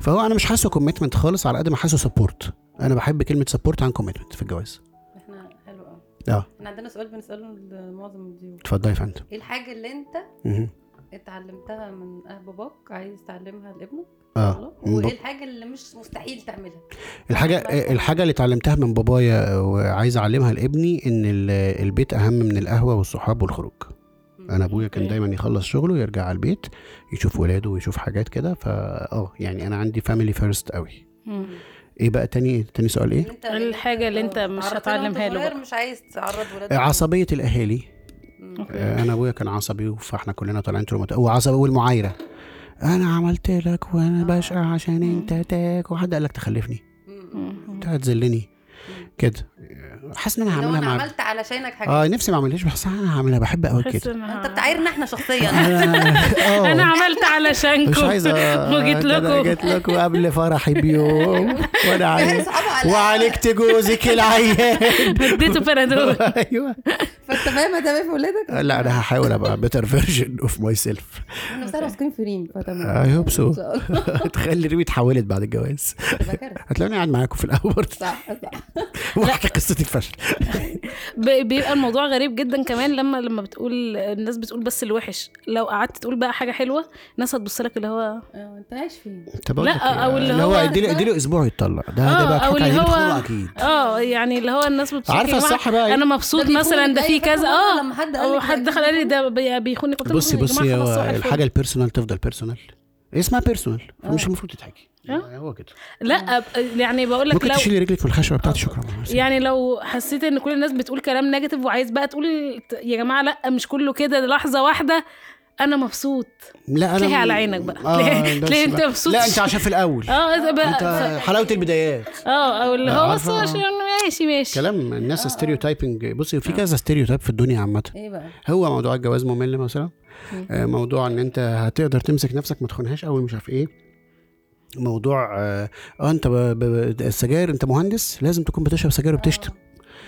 S3: فهو انا مش حاسه كوميتمنت خالص على قد ما حاسه سبورت انا بحب كلمه سبورت عن كوميتمنت في الجواز
S2: احنا حلو قوي
S3: اه
S2: احنا عندنا سؤال بنساله لمعظم الضيوف
S3: اتفضلي يا فندم
S2: ايه الحاجه اللي انت
S3: مهم.
S2: اتعلمتها من أه باباك عايز تعلمها لابنك
S3: اه
S2: الله.
S3: مم.
S2: وايه الحاجه اللي مش مستحيل تعملها يعني
S3: الحاجة
S2: بقى.
S3: الحاجة اللي اتعلمتها من بابايا وعايز اعلمها لابني ان ال- البيت اهم من القهوة والصحاب والخروج.
S2: مم.
S3: انا ابويا كان
S1: اوكي.
S3: دايما يخلص شغله يرجع على البيت يشوف ولاده ويشوف حاجات كده فا اه يعني انا عندي فاميلي فيرست قوي.
S1: مم.
S3: ايه بقى تاني تاني سؤال
S2: إن
S3: ايه؟
S2: انت
S1: الحاجة اللي أنت
S2: آه،
S1: مش
S2: اتعرضت
S1: هتعلمها
S2: وأنت
S1: له
S2: صغير
S1: بقى.
S2: مش عايز تعرض ولادك
S3: عصبية الاهالي
S2: مم.
S1: أوكي.
S3: آه، انا ابويا كان عصبي فاحنا كلنا طالعين طول مت... وعصبي والمعايرة انا عملت لك وانا
S2: آه.
S3: بشقى عشان انت تاك وحد قال لك تخلفني
S2: مم.
S1: مم.
S3: انت هتذلني كده حاسس ان انا
S2: لو
S3: هعملها
S2: انا
S3: مع
S2: عملت علشانك
S3: اه
S2: حاجه
S3: نفسي ما اعملهاش بس انا هعملها بحب قوي كده
S1: بحس [LAUGHS] إنها-
S2: انت بتعايرنا احنا شخصيا
S3: انا
S1: انا
S3: [LAUGHS] أنا آه،
S1: عملت علشانكم
S3: مش عايزه
S1: [LAUGHS] وجيت
S3: ده أنا
S1: لكم
S3: جيت لكم قبل فرحي بيوم
S1: [LAUGHS]
S3: وانا
S2: كان [LAUGHS]
S3: عايز
S2: صحابه على
S3: وعالجت جوزك العيان
S1: [LAUGHS] اديته بنادول
S3: ايوه
S2: فانت فاهم هتعمل في ولادك
S3: لا انا هحاول ابقى بيتر فيرجن اوف ماي [LAUGHS] سيلف
S2: احنا بس ماسكين في ريم فتمام
S3: اي هوب سو
S2: ان شاء الله [LAUGHS]
S3: تخلي ريمي اتحولت بعد الجواز
S2: تبقى كارثه
S3: هتلاقوني قاعد معاكم في الاول
S2: صح صح
S3: واحكي قصه الفشل
S1: ب- بيبقى الموضوع غريب جدا كمان لما لما بتقول الناس بتقول بس الوحش لو قعدت تقول بقى حاجه حلوه الناس هتبص لك اللي هو
S2: آه، انت عايش فين
S3: طب أقول
S1: لا،
S3: لك إيه،
S1: أو اللي
S3: اللي هو
S1: هو-
S3: ادي له ادي له اسبوع يتطلق ده ده
S1: آه،
S3: بقى
S1: أو
S3: حكايه
S1: اللي هو-
S3: هيجيب اكيد
S1: اه يعني اللي هو الناس بتقول
S3: عارفة الصح بقى إيه؟
S1: انا
S2: ده
S1: مبسوط
S2: بيكون
S1: مثلا ده
S2: أي
S1: في
S2: فاكرة
S1: كذا
S2: مرة
S1: اه
S2: لما حد قال
S1: او
S2: لك
S1: حد
S2: ركزي
S1: دخل قال لي
S2: كده؟
S1: ده بي- بيخوني قلت لهم إيه
S3: بصي
S1: يا جماعة
S3: بصي
S1: خلاص
S3: هو
S1: صباح الفل.
S3: الحاجه البيرسونال تفضل بيرسونال اسمها بيرسونال فمش
S2: آه.
S3: المفروض تتحكي يعني
S1: آه.
S3: هو كده
S1: لا ب- يعني بقول لك
S3: آه. ممكن
S1: لو
S3: تشيلي رجلك في الخشبه بتاعت شكرا
S1: يعني لو حسيت ان كل الناس بتقول كلام نيجاتيف وعايز بقى تقول يا جماعه لا مش كله كده ده لحظه واحده انا مبسوط
S3: لا انا
S1: تلاقي على عينك بقى.
S3: آه،
S1: تلاقي-
S3: بس
S1: تلاقي أنت
S3: لا.
S1: مبسوط.
S3: لا انت عشان في الاول
S1: اه إذا بقى
S3: انت
S1: ف-
S3: حلاوه البدايات
S1: اه او اللي هو
S3: عارفة،
S1: بس
S3: آه.
S1: عشان ماشي ماشي
S3: كلام الناس
S1: آه.
S3: ستيريو تايبنج بصي في كذا ستيريو تايب في الدنيا عامه
S2: ايه بقى
S3: هو موضوع الجواز ممل مثلا آه، موضوع ان انت هتقدر تمسك نفسك ما تخونهاش قوي مش عارف ايه موضوع اه آه، انت ب... ب... السجاير انت مهندس لازم تكون بتشرب سجاير وبتشتم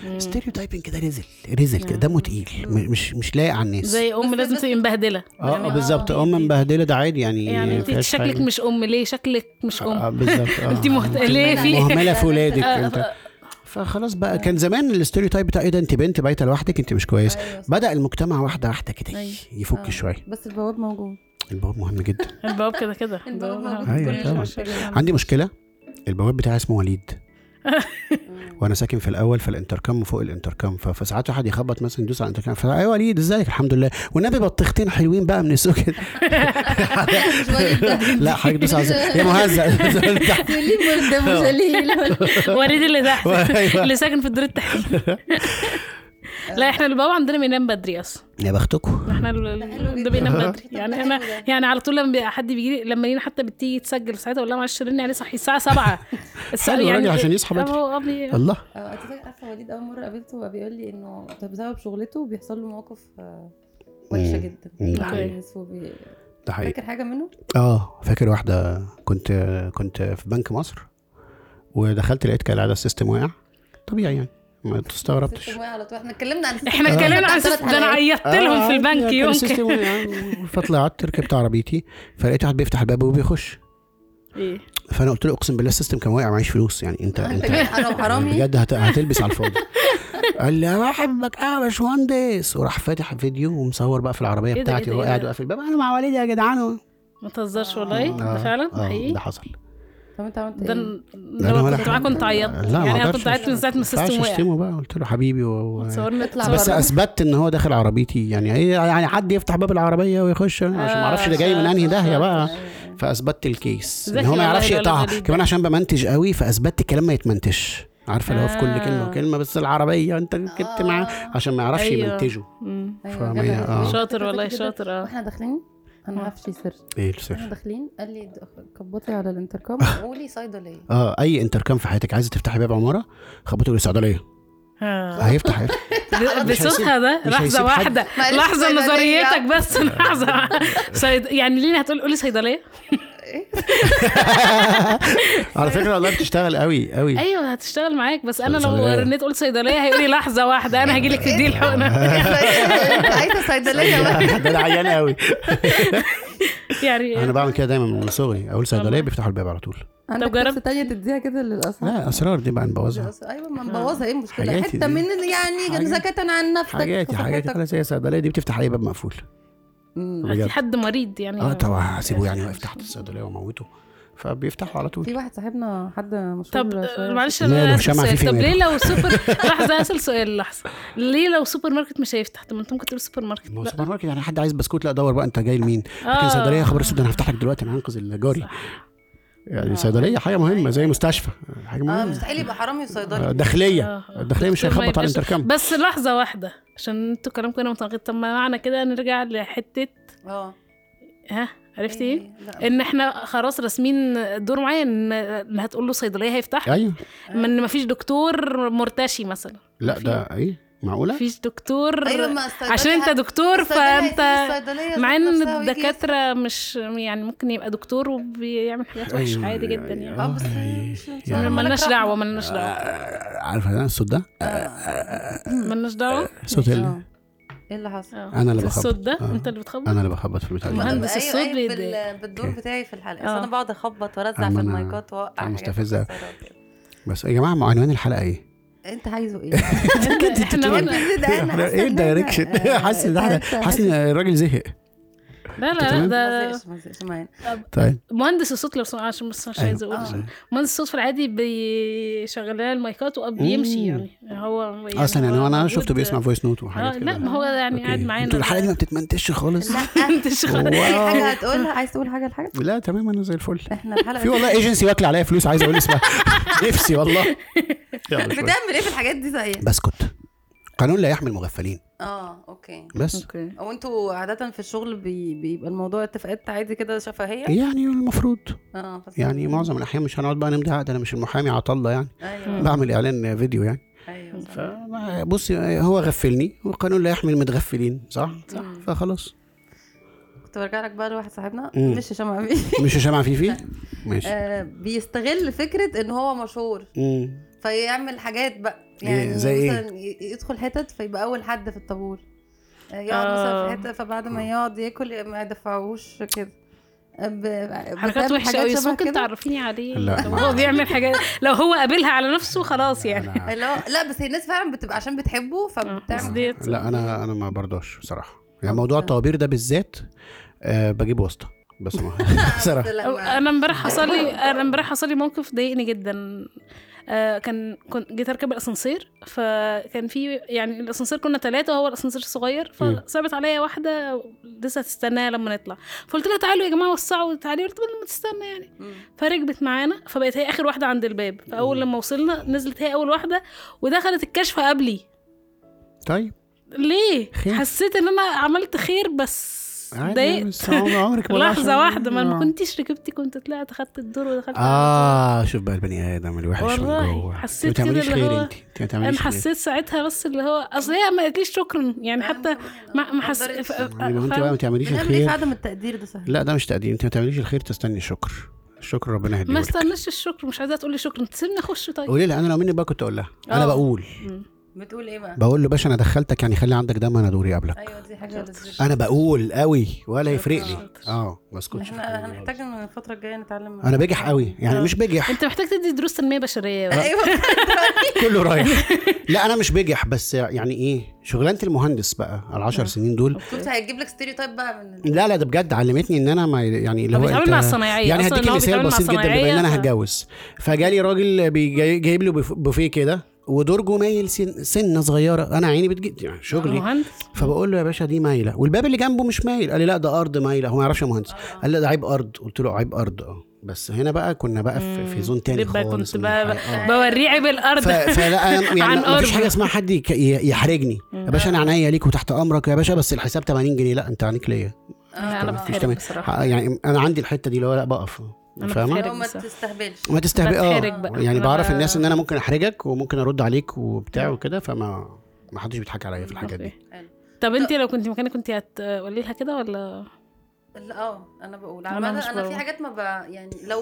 S1: مم.
S3: ستيريو تايبنج كده رزل رزل كده دمه تقيل م- مش مش لايق على الناس
S1: زي ام
S2: بس-
S1: لازم
S2: بس-
S1: تبقى مبهدله
S3: اه
S2: يعني
S3: آه، بالظبط
S2: آه،
S3: ام
S2: دي- دي-
S3: مبهدله ده عادي يعني
S1: يعني انت
S3: مفيهاش
S1: شكلك
S3: حاجة.
S1: مش ام ليه شكلك مش ام
S3: آه، بالظبط
S1: [LAUGHS]
S3: آه.
S1: انت مهت- ليه في-
S3: مهمله
S1: [LAUGHS]
S3: في ولادك
S1: آه،
S3: انت فخلاص بقى كان زمان الاستيريو تايب بتاع ايه ده انت بنت بايته لوحدك انت مش كويس
S2: أيوة.
S3: بدا المجتمع واحده واحده كده
S1: أيوة.
S3: يفك شويه
S2: بس البواب موجود
S3: الباب مهم جدا
S1: البواب كده كده
S2: البواب موجود.
S3: أيوة
S1: كل
S3: طبعاً.
S1: شوية.
S3: عندي مشكله البواب بتاعي اسمه وليد وانا ساكن في الاول فالانتركم فوق الانتركم ف- فساعات واحد يخبط مثلا يدوس على الانتركم فايوه وليد ازيك الحمد لله والنبي بطيختين حلوين بقى من السوق [LAUGHS] كده
S1: [LAUGHS]
S3: لا حضرتك دوس على يا مهزأ [LAUGHS]
S2: ليه مرتب
S1: [LAUGHS]
S2: جليل
S1: وريد اللي تحت
S3: أيوة.
S1: اللي ساكن في الدور التحتي
S3: [LAUGHS]
S1: لا احنا الباب عندنا بينام بدري اصلا
S3: يا بختكم
S1: احنا ال- ال- ده بينام [LAUGHS] بدري يعني انا يعني على طول لما بي- حد بيجي لي لما لينا حتى بتيجي تسجل ساعتها اقول لها معلش رني عليه صحي الساعه 7
S3: [LAUGHS]
S1: الساعه
S3: حلو الراجل عشان يصحى بدري.
S1: يعني هو قبلي
S3: الله
S2: اه انت فاكره عارفه وليد اول مره قابلته بقى بيقول لي انه طب بسبب شغلته بيحصل له مواقف آه، وحشه
S3: مم.
S2: جدا
S3: مم، ده
S2: مع
S1: حقيقي.
S2: الناس وبي-
S1: أيوة.
S3: ده حقيقي
S2: فاكر حاجه منه؟
S3: اه فاكر واحده كنت كنت في بنك مصر ودخلت لقيت كالعاده السيستم واقع طبيعي يعني ما
S2: ست
S3: استغربتش
S2: ميه على طول احنا اتكلمنا عن
S1: احنا
S3: آه.
S1: اتكلمنا عن
S2: ست
S1: السيستم ده انا عيطت لهم في
S3: يعني
S1: البنك يوم كده.
S3: يوم فطلعت ركبت عربيتي فلقيت واحد بيفتح الباب وبيخش
S1: ايه
S3: فانا قلت له اقسم بالله السيستم كان واقع معيش فلوس يعني انت
S2: انت
S3: انت
S2: جاي حرام يعني. حرامي
S3: بجد هت- هتلبس على الفاضي قال لي انا بحبك قوي يا باشمهندس وراح فاتح فيديو ومصور بقى في العربيه
S1: إيه ده، إيه
S3: بتاعتي
S1: ده،
S3: وهو
S1: إيه
S3: قاعد
S1: ده؟
S3: واقف الباب انا مع والدي يا جدعان
S1: ما تهزرش والله ده
S3: آه،
S1: فعلا
S3: آه،
S1: حقيقي
S3: ده حصل
S2: طب انت عملت
S1: ده
S2: ايه؟
S1: ن- لو
S3: ولا
S1: كنت
S3: حاجة.
S1: معاك كنت عيطت
S3: لا ما
S1: يعني انا
S3: اقدرش
S1: كنت عيطت من ساعه ما السيستم
S3: ينفعش آه.
S1: وقع
S3: تصدمه بقى قلت له حبيبي و... و...
S1: تصورنا
S2: اطلع
S3: بس
S2: بره.
S3: اثبتت ان هو داخل عربيتي يعني ايه يعني حد يفتح باب العربيه ويخش عشان ما
S1: آه،
S3: اعرفش ده جاي من انهي داهيه
S2: آه،
S3: بقى فاثبتت الكيس ان
S1: ذكي
S3: هو ما
S1: والله
S3: يعرفش
S1: الولد
S3: يقطعها
S1: الوليد ده.
S3: كمان عشان بمنتج قوي فاثبتت الكلام ما يتمنتجش عارفه اللي هو في كل كلمه
S1: آه.
S3: وكلمه بس العربيه انت ركبت معاه عشان ما يعرفش
S1: أيوة.
S3: يمنتجه
S1: مم.
S3: فاهمة
S2: أيوة، جدع.
S3: إيه؟ آه.
S1: شاطر والله،
S2: كده
S1: شاطر، آه.
S2: واحنا داخلين انا ما اعرفش سر
S3: ايه
S2: احنا
S3: السر
S2: داخلين قال لي د- كبطي على
S3: [LAUGHS]
S2: الانتركم وقولي صيدليه [LAUGHS]
S3: اه اي انتركام في حياتك عايزه تفتحي باب عماره خبطي الصيدليه
S1: آه.
S3: هيفتح هيفتح
S1: ب-
S3: مش
S1: بصوتها
S3: هيسيب-
S1: ده
S3: مش هيسيب
S1: لحظه
S3: حد.
S1: واحده
S2: معلش
S1: لحظه
S2: صيدلية.
S1: نظريتك بس [LAUGHS] لحظه صيد... يعني لينا هتقول قولي صيدليه
S3: على فكره والله بتشتغل قوي [LAUGHS] قوي
S1: ايوه هتشتغل معاك بس انا لو
S3: صيدلية.
S1: رنيت قول صيدليه هيقولي لحظه واحده انا هجيلك تدي الحقنه
S2: يعني عايزه صيدليه بقى
S3: ده انا عيان قوي انا
S1: [LAUGHS] يعني
S3: بعمل كده دايما من صغري اقول صيدليه بيفتحوا الباب على طول
S2: عندك
S1: جربت-
S2: فرصه تانية تديها كده للاصحاب
S3: لا اسرار دي بقى نبوظها
S2: ايوه ما نبوظها ايه المشكله
S3: حاجاتي
S2: حته
S3: دي.
S2: من يعني
S3: حاجاتي.
S2: زكاه عن نفسك
S3: حاجاتي حاجاتي
S2: وصحتك.
S3: خلاص هي الصيدليه دي بتفتح اي باب مقفول
S2: مم.
S1: في
S3: بجد
S1: حد مريض يعني
S3: اه طبعا هسيبه يعني واقف تحت الصيدليه واموته فبيفتحوا على طول
S2: في واحد صاحبنا حد مشهور
S1: طب آه،
S2: شوية.
S1: معلش
S3: ماله،
S1: انا هسأل
S3: شمع
S1: سؤال
S3: فيه في
S1: طب ليه
S3: ماله؟ [LAUGHS]
S1: لو سوبر لحظه اسال سؤال لحظه ليه لو سوبر ماركت مش هيفتح طب ما انت ممكن تقول سوبر ماركت
S3: ما هو
S1: لا
S3: سوبر ماركت يعني حد عايز بسكوت لا دور بقى انت جاي لمين لكن
S1: آه.
S3: صيدليه خبر اسود انا هفتح لك دلوقتي انا هنقذ الجاري
S1: آه.
S3: يعني صيدليه حاجه مهمه زي مستشفى حاجه
S2: اه
S3: مهمه
S2: مستحيل يبقى حرامي
S3: آه،
S2: وصيدلي
S3: داخليه
S1: آه.
S3: الداخليه مش
S1: دكتور ما
S3: هيخبط على
S1: يبقاش-
S3: الانتركام
S1: بس لحظه واحده عشان انتوا كلامكم هنا متناقض طب ما معنى كده نرجع لحته
S2: اه
S1: ها عرفتي ايه
S2: إيه، لا.
S1: ان احنا خلاص راسمين دور معين ان اللي هتقول له صيدليه هيفتح
S3: ايوه
S1: ما ان مفيش دكتور مرتشي مثلا
S3: لا ده ايه معقوله
S1: مفيش دكتور
S2: ايوه ما الصيدلية-
S1: عشان انت دكتور
S2: الصيدلية
S1: فانت
S2: هيسيب الصيدلية
S1: مع
S2: ذات
S1: ان
S2: نفسها ويجي
S1: الدكاتره مش يعني ممكن يبقى دكتور وبيعمل حاجات وحشه
S3: أيوة،
S1: عادي جدا
S3: أيوة.
S1: يعني
S2: يسأل. اه بس
S3: يعني-
S2: مش- مش-
S3: يعني-
S2: مالك
S1: ملناش
S2: رحمة.
S1: دعوه ملناش دعوه
S3: آه، عارفه انا الصوت ده
S1: ملناش دعوه
S3: صوت ال...
S2: آه. ايه اللي حصل؟
S1: اه.
S3: آه. أنا اللي
S1: الصوت
S3: بخبط.
S1: ده
S3: اه.
S1: انت اللي بتخبط
S3: انا اللي بخبط في البتاع ده.
S1: مهندس
S2: أيوة،
S1: الصوت
S2: أيوة، بال-
S1: بيضايق.
S2: بالدور بتاعي في الحلقه اصل
S1: آه.
S2: انا بقعد اخبط وارزع
S3: أما
S2: في
S3: أنا-
S2: المايكات واوقع
S3: أنا
S2: حاجات
S3: مستفزة.
S2: في الصيدلية.
S3: بس يا جماعه ما عنوان الحلقه ايه؟
S1: [LAUGHS]
S2: انت عايزه [LAUGHS] ايه؟
S1: احنا قلنا-
S3: احنا ايه الدايركشن؟ حاسس ان احنا حاسس ان الراجل زهق
S1: لا لا
S3: تمام؟
S1: لا ده
S2: [LAUGHS] ده
S3: طيب
S1: مهندس الصوت لو سمع عشان بس مش
S3: أيوة.
S1: عايزه اقول
S2: آه.
S1: مهندس الصوت في العادي بيشغل لها المايكات وبيمشي
S3: مم.
S1: يعني هو يعني
S3: اصلا يعني
S1: هو
S3: انا
S1: موجود-
S3: شفته بيسمع فويس نوت
S1: اه
S3: وحاجات كده
S1: لا ما هو يعني
S3: أوكي.
S1: قاعد معانا
S3: انتوا الحلقه دي ما بتتمنتجش خالص
S1: [LAUGHS]
S2: [LAUGHS]
S1: انت شغال
S3: واو.
S2: حاجه هتقولها عايز تقول حاجه
S3: [LAUGHS]
S2: لحاجه؟
S3: لا تمام انا زي الفل
S2: احنا الحلقه
S3: في والله ايجنسي واكله عليا فلوس عايز
S1: [LAUGHS]
S3: اقول اسمها نفسي والله يلا شوية. [LAUGHS]
S2: بتعمل ايه في إيه الحاجات دي صحيح؟
S3: بسكت قانون لا يحمي المغفلين
S2: اه اوكي
S3: بس
S1: اوكي
S2: وانتوا عادة في الشغل بي... بيبقى الموضوع اتفاقات عادي كده شفهية؟
S3: يعني المفروض
S2: اه بس
S3: يعني معظم الاحيان مش هنقعد بقى نمضي عقد انا مش المحامي عطله يعني
S2: ايوه
S3: بعمل اعلان فيديو يعني
S2: ايوه صح.
S3: فما- بصي هو غفلني والقانون لا يحمي المتغفلين صح؟ صح
S2: مم.
S3: فخلاص
S2: كنت برجع لك بقى لواحد صاحبنا
S3: مم.
S2: مش هشام عمي
S3: مش
S1: [LAUGHS]
S3: هشام فيفي ماشي
S2: آه بيستغل فكرة ان هو مشهور
S3: مم.
S2: فيعمل حاجات بقى
S3: إيه،
S2: يعني
S3: زي إيه؟
S2: مثلا ي- يدخل حتت فيبقى اول حد في الطابور آه، يقعد
S1: آه.
S2: مثلا في حته فبعد ما يقعد ياكل ما يدفعوش كده آه، ب- ب-
S1: حركات
S2: بتعمل
S1: وحشه
S2: حاجات
S1: قوي بس
S2: شبه
S1: ممكن
S2: كده.
S1: تعرفيني عليه
S3: لا،
S1: لو
S3: ما-
S1: هو بيعمل حاجات لو هو قابلها على نفسه خلاص يعني
S3: أنا-
S2: اللي هو لا بس هي الناس فعلا بتبقى عشان بتحبه
S1: آه.
S2: فبتعمل
S1: ديت.
S3: لا انا انا ما برضاش بصراحه
S2: طب-
S3: يعني موضوع الطوابير ده بالذات آه بجيب واسطه بس
S1: [LAUGHS]
S3: ما [LAUGHS]
S2: بس
S3: بصراحه
S2: لما-
S1: انا امبارح حصل لي انا امبارح حصل لي موقف ضايقني جدا آه كان كنت جيت اركب الاسانسير فكان في يعني الاسانسير كنا ثلاثه وهو الاسانسير صغير
S3: مم.
S1: فصعبت عليا واحده لسه هتستناها لما نطلع فقلت لها تعالوا يا جماعه وسعوا تعالي قلت لما تستنى يعني
S2: مم.
S1: فركبت معانا فبقت هي اخر واحده عند الباب فاول لما وصلنا نزلت هي اول واحده ودخلت الكشف قبلي
S3: طيب
S1: ليه
S3: خير.
S1: حسيت ان انا عملت خير بس
S3: عادي،
S1: ضايقت
S3: بس عمر- عمرك ما
S1: لحظة
S3: العشرة-
S1: واحدة ما انا
S3: آه.
S1: ما كنتش ركبتي كنت طلعت خدت الدور ودخلت على
S3: اه شوف بقى البني ادم الوحش من
S1: والله
S3: جوه
S1: حسيت
S3: انت ما
S1: كده
S3: تعمليش
S1: اللي
S3: خير
S1: هو-
S3: انت انت ما
S1: طول. انا
S3: تعمليش خير
S1: حسيت ساعتها بس اللي هو اصل هي ما قالتليش شكرا يعني
S3: آه.
S1: حتى ما ما حس...
S2: مقدرتش.
S1: ف...
S3: يعني ما انت بقى ما
S1: ف...
S3: تعمليش
S2: بنعمل
S1: إيه
S2: ايه في
S3: الخير
S2: عدم التقدير ده صحيح؟
S3: لا ده مش تقدير انت ما تعمليش الخير تستني الشكر الشكر ربنا
S1: ما
S3: يهديهولك
S1: استناش الشكر مش عايزة تقولي شكرا تسيبني اخش طيب
S3: قولي لي انا لو مني بقى كنت اقول لها انا
S1: آه.
S3: بقول
S1: مم.
S2: بتقول ايه بقى؟
S3: بقول له باشا انا دخلتك يعني خلي عندك دم انا دوري قبلك
S1: أيوة.
S2: ايوه دي حاجه لذيذة.
S3: انا بقول قوي ولا يفرق لي
S1: شاطر.
S3: اه ما اسكتش في
S2: احنا
S3: الموضوع ده.
S2: هنحتاج ان الفتره الجايه نتعلم
S3: انا بجح
S2: [LAUGHS]
S3: قوي يعني
S1: آه.
S3: مش
S1: [LAUGHS]
S3: بجح
S1: انت محتاج تدي دروس تنمية بشرية
S3: آه،
S1: بقى.
S2: ايوه
S3: كله رايح [LAUGHS] لا انا مش بجح بس يعني ايه شغلانه المهندس بقى
S1: آه.
S3: العشر سنين دول
S2: كنت هيجيب لك ستيريو تايب بقى من ال-
S3: لا لا ده بجد علمتني ان انا ما يعني اللي
S1: هو
S3: هو
S1: بيتعامل
S3: أنت-
S1: مع الصنايعية
S3: يعني
S1: أصلاً
S3: هديك
S1: إن هو
S3: مثال
S1: بيتعامل مع
S3: بسيط جدا بما ان انا
S1: صنايعية، ف-
S3: هتجوز فجالي راجل بيجي- جايب لي بف- بوفيه كده ودرجه مايل سن سنه صغيره انا عيني بتجيب يعني شغلي
S1: مهندس
S3: فبقول له يا باشا دي مايله والباب اللي جنبه مش مايل قال لي لا ده ارض مايله هو ما يعرفش يا مهندس
S1: آه.
S3: قال لي ده عيب ارض قلت له عيب ارض اه بس هنا بقى كنا بقى في, في زون تاني
S1: بقى
S3: خالص
S1: كنت
S3: من
S1: بقى-
S3: الحياة. آه.
S1: بوريه عيب [LAUGHS]
S3: ف-
S1: الارض
S3: فلا أنا- يعني
S1: عن
S3: ما فيش
S1: قرب.
S3: حاجه اسمها حد يك- ي- يحرجني يا باشا انا عينيا ليك وتحت امرك يا باشا بس الحساب 80 جنيه لا انت عينيك ليا
S1: لا،
S2: آه.
S1: أنا
S3: مفيش
S1: بتحرج
S3: تمام.
S1: بصراحة.
S3: آه، يعني انا عندي الحته دي اللي هو لا بقف
S1: أنا
S3: فاهمه
S1: بتحرج.
S2: لو اه، ما
S1: بس.
S2: تستهبلش
S3: ما تستهبئ
S1: بتحرج
S3: اه
S1: بقى.
S3: يعني
S1: أنا
S3: بعرف
S1: ب-
S3: الناس ان انا ممكن احرجك وممكن ارد عليك وبتاع وكده فما ما حدش بيضحك عليا في الحاجات دي
S2: حلو.
S1: طب انت لو كنت مكاني كنت هتقولي لها كده ولا
S2: لا اه انا بقول
S1: أنا
S2: عمال
S1: مش
S2: انا في
S1: بقول.
S2: حاجات ما ب... يعني لو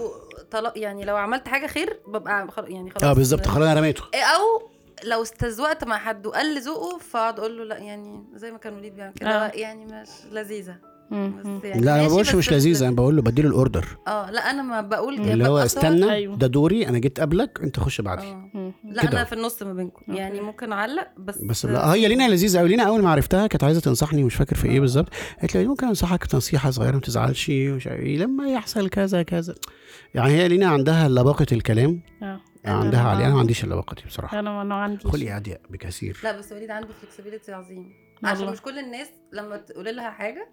S2: طل... يعني لو عملت حاجه خير ببقى خل... يعني خلاص
S3: اه بالظبط خلاص انا رميته
S2: او لو استذوقت مع حد وقال لي ذوقه فاقعد اقول له لا يعني زي ما كان وليد بيعمل كده
S1: آه.
S2: يعني مش لذيذه
S1: مم.
S2: بس يعني
S3: لا انا ما
S2: ماشي،
S3: بقولش
S2: بس
S3: مش لذيذ انا بقول له بديله الاوردر
S2: اه لا انا ما بقول
S3: اللي هو
S2: ببقى صوت-
S3: استنى
S1: أيوه.
S3: ده دوري انا جيت قبلك انت خش بعدي
S2: آه.
S1: مم.
S2: لا
S3: كده.
S2: انا في النص ما بينكم يعني ممكن اعلق بس
S3: بس لا آه، هي لينا لذيذه قوي لينا اول ما عرفتها كانت عايزه تنصحني مش فاكر في ايه بالظبط قالت لي ممكن انصحك نصيحه صغيره ما تزعلش مش عارف إيه، لما يحصل كذا كذا يعني هي لينا عندها لباقه الكلام
S1: اه
S3: عندها علي انا ما عنديش اللباقه دي بصراحه
S1: انا ما عندي
S3: خلقي اضيق بكثير
S2: لا بس وليد عنده فلكسبيليتي عظيم
S1: والله.
S2: عشان مش كل الناس لما تقول لها حاجه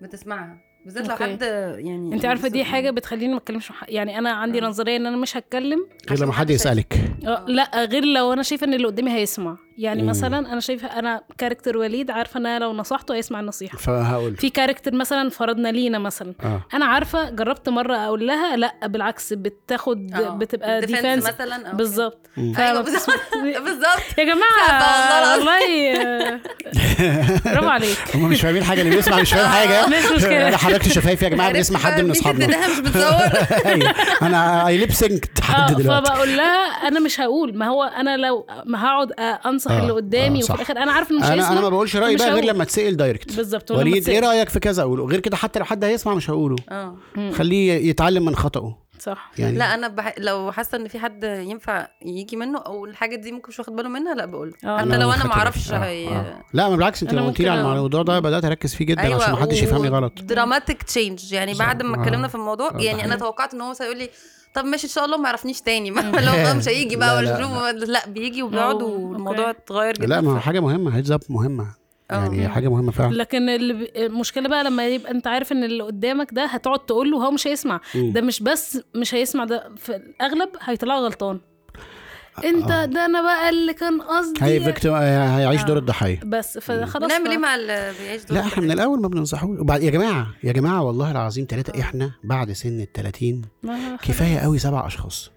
S2: بتسمعها بالذات لو
S1: أوكي.
S2: حد يعني
S1: انت عارفه دي حاجه بتخليني ما اتكلمش مع حد. يعني انا عندي
S2: آه.
S1: نظريه ان انا مش هتكلم
S3: غير لما حد يسالك
S1: آه، لا غير لو انا شايفه ان اللي قدامي هيسمع يعني
S3: مم.
S1: مثلا انا شايفه انا كاركتر وليد عارفه ان انا لو نصحته هيسمع النصيحه
S3: فهقول
S1: في كاركتر مثلا فرضنا لينا مثلا
S3: [LAUGHS] اه
S1: انا عارفه جربت مره اقول لها لا بالعكس بتاخد
S2: آه.
S1: بتبقى
S2: ديفنس
S1: ديفense
S2: مثلا أو
S1: بالظبط
S3: مم.
S1: فما
S2: آه، أيوة
S1: بتسمع-
S2: كده. [LAUGHS] بالظبط
S1: يا
S2: [LAUGHS]
S1: جماعه
S2: والله
S1: والله آه، برافو عليك
S3: هم مش فاهمين حاجه اللي بيسمع مش فاهم حاجه
S1: مش مشكلة.
S3: انا حركت شفايفي يا جماعه بنسمع حد من
S2: عرفت بقى ميزة
S3: اصحابنا
S2: انها مش
S3: [LAUGHS]
S2: بتصور
S3: أيوة. انا اي ليب سينك
S1: اه
S3: حد دلوقتي
S1: فبقول لها انا مش هقول ما هو انا لو ما هقعد أ- انصح
S3: آه،
S1: اللي قدامي
S3: آه،
S1: وفي
S3: صح.
S1: الاخر انا عارف انه مش
S3: انا انا ما
S1: هيسمع
S3: بقولش رايي
S1: مش
S3: بقى غير
S1: هقول.
S3: لما تسال دايركت
S1: بالظبط ولما
S3: وليد ايه
S1: تسأل.
S3: رايك في كذا اقوله غير كده حتى لو حد هيسمع مش هقوله
S2: اه
S1: مم. آه،
S3: خليه يتعلم من خطأه
S1: صح
S3: يعني
S2: لا انا بح... لو حاسه ان في حد ينفع يجي منه او الحاجه دي ممكن مش واخد باله منها لا بقول
S1: آه.
S2: حتى لو انا
S3: خطأ
S2: ما اعرفش
S3: آه،
S2: هي...
S3: آه. لا ما بالعكس انت
S1: أنا
S3: لما قلت لي على
S1: ممكن- أيوة،
S3: الموضوع ده بدات اركز فيه جدا
S2: أيوة،
S3: عشان ما حدش يفهمني غلط
S2: دراماتيك تشينج يعني
S3: صح.
S2: بعد ما
S3: آه.
S2: اتكلمنا في الموضوع
S3: آه، ده
S2: يعني انا
S3: حقيقي.
S2: توقعت ان هو هيقول لي طب ماشي ان شاء الله ما يعرفنيش تاني [LAUGHS] ما اللي هو بقى
S3: [LAUGHS]
S2: مش هيجي بقى
S3: لا،
S2: ولا
S3: لا،
S2: اشوفه لا بيجي وبيقعد
S1: أوه،
S2: والموضوع
S1: أوكي.
S2: اتغير جدا
S3: لا ما هو حاجه مهمه هيدز اب مهمه يعني
S1: آه.
S3: حاجه مهمه فعلا
S1: لكن اللي بي- المشكله بقى لما يبقى انت عارف ان اللي قدامك ده هتقعد تقول له وهو مش هيسمع
S3: مم.
S1: ده مش بس مش هيسمع ده في الاغلب هيطلعه غلطان انت
S3: آه.
S1: ده انا بقى اللي كان
S3: هي
S1: قصدي
S3: فيكتيم هيعيش دور
S1: آه.
S3: الضحيه
S1: بس فخلاص
S2: بنعمل ايه مع اللي بيعيش دور
S3: لا احنا من الاول ما بننصحوش وبعد يا جماعه يا جماعه والله العظيم
S1: آه.
S3: ثلاثه احنا بعد سن ال 30
S1: ما-
S3: كفايه قوي سبع اشخاص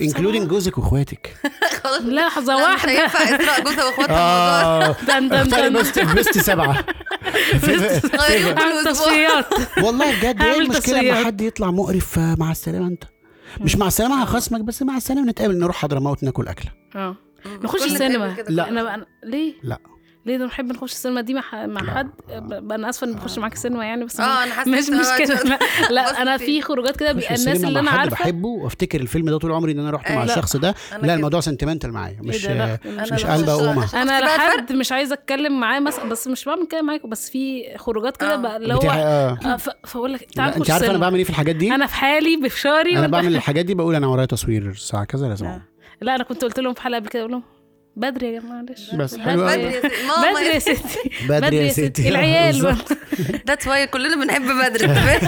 S3: انكلودنج جوزك واخواتك
S1: [LAUGHS]
S2: خلاص
S1: لحظة
S2: لا، مش
S1: واحدة
S2: هينفع إسراء جوزها
S3: [LAUGHS]
S2: واخواتها الموضوع ده.
S1: [LAUGHS]
S3: اه
S1: دن دن
S3: اختار
S1: دن
S3: بيست بيست
S1: [LAUGHS]
S3: سبعه
S2: غيروا كل
S1: عامل
S2: أسبوع.
S1: تصفيات
S3: والله بجد ايه
S1: هعمل
S3: المشكله لما
S1: تصفيات.
S3: حد يطلع مقرف آه، مع السلامه انت مش مع السلامه هخصمك بس مع السلامه نتقابل نروح حضرموت ناكل اكله
S1: اه
S2: مم.
S1: نخش
S2: كل
S1: السينما
S2: نتقابل كده.
S3: لا.
S1: انا بقى ليه؟
S3: لا.
S1: ليه ده بنحب نخش السينما دي مع ح-
S3: لا.
S1: مع حد ب- انا اسفه اني بخش معاك السينما يعني بس
S2: اه انا حاسه
S1: [LAUGHS] مش
S2: إن أنا
S1: مش كده لا, [LAUGHS] لا انا
S2: بصي.
S1: في خروجات كده
S3: أخش
S1: بيبقى الناس
S3: السينما
S1: اللي
S3: مع
S1: انا
S3: حد
S1: عارفه
S3: بحبه وافتكر الفيلم ده طول عمري ان انا رحت
S2: آه،
S3: مع
S2: لا.
S3: الشخص ده
S2: [LAUGHS] أنا
S3: لا
S2: كده.
S3: الموضوع سنتمنتال معايا
S1: إيه
S3: مش
S1: ده؟ لا، أنا
S3: مش
S1: بخش-
S3: قلبه وقومة.
S1: انا
S2: شفت بقى الفرق؟
S1: لحد مش عايزه اتكلم معاه مثلا بس مش بعمل كده معاكم بس في خروجات كده
S2: آه.
S1: بقى اللي
S3: بتاع-
S1: هو
S3: آه.
S1: آه، ف- فاقول لك
S3: لا،
S1: تعال نخش
S3: انت عارفه انا
S1: السينما
S3: بعمل ايه في الحاجات دي
S1: انا في حالي بفشاري
S3: انا
S1: وأنت-
S3: بعمل إيه؟ الحاجات دي بقول انا ورايا تصوير الساعه كذا لازم أقوم.
S1: لا انا كنت قلت لهم في حلقه قبل كده اقول لهم بدري يا جماعه معلش
S3: بس
S1: بدري.
S3: حلو
S2: بدري
S3: قوي
S2: يا ستي. ماما
S1: بدري
S2: يا
S1: يا
S2: ستي
S1: ستي
S3: بدري يا [LAUGHS] ستي
S1: العيال بقى.
S3: بالظبط.
S2: ذاتس واي كلنا بنحب بدري تمام؟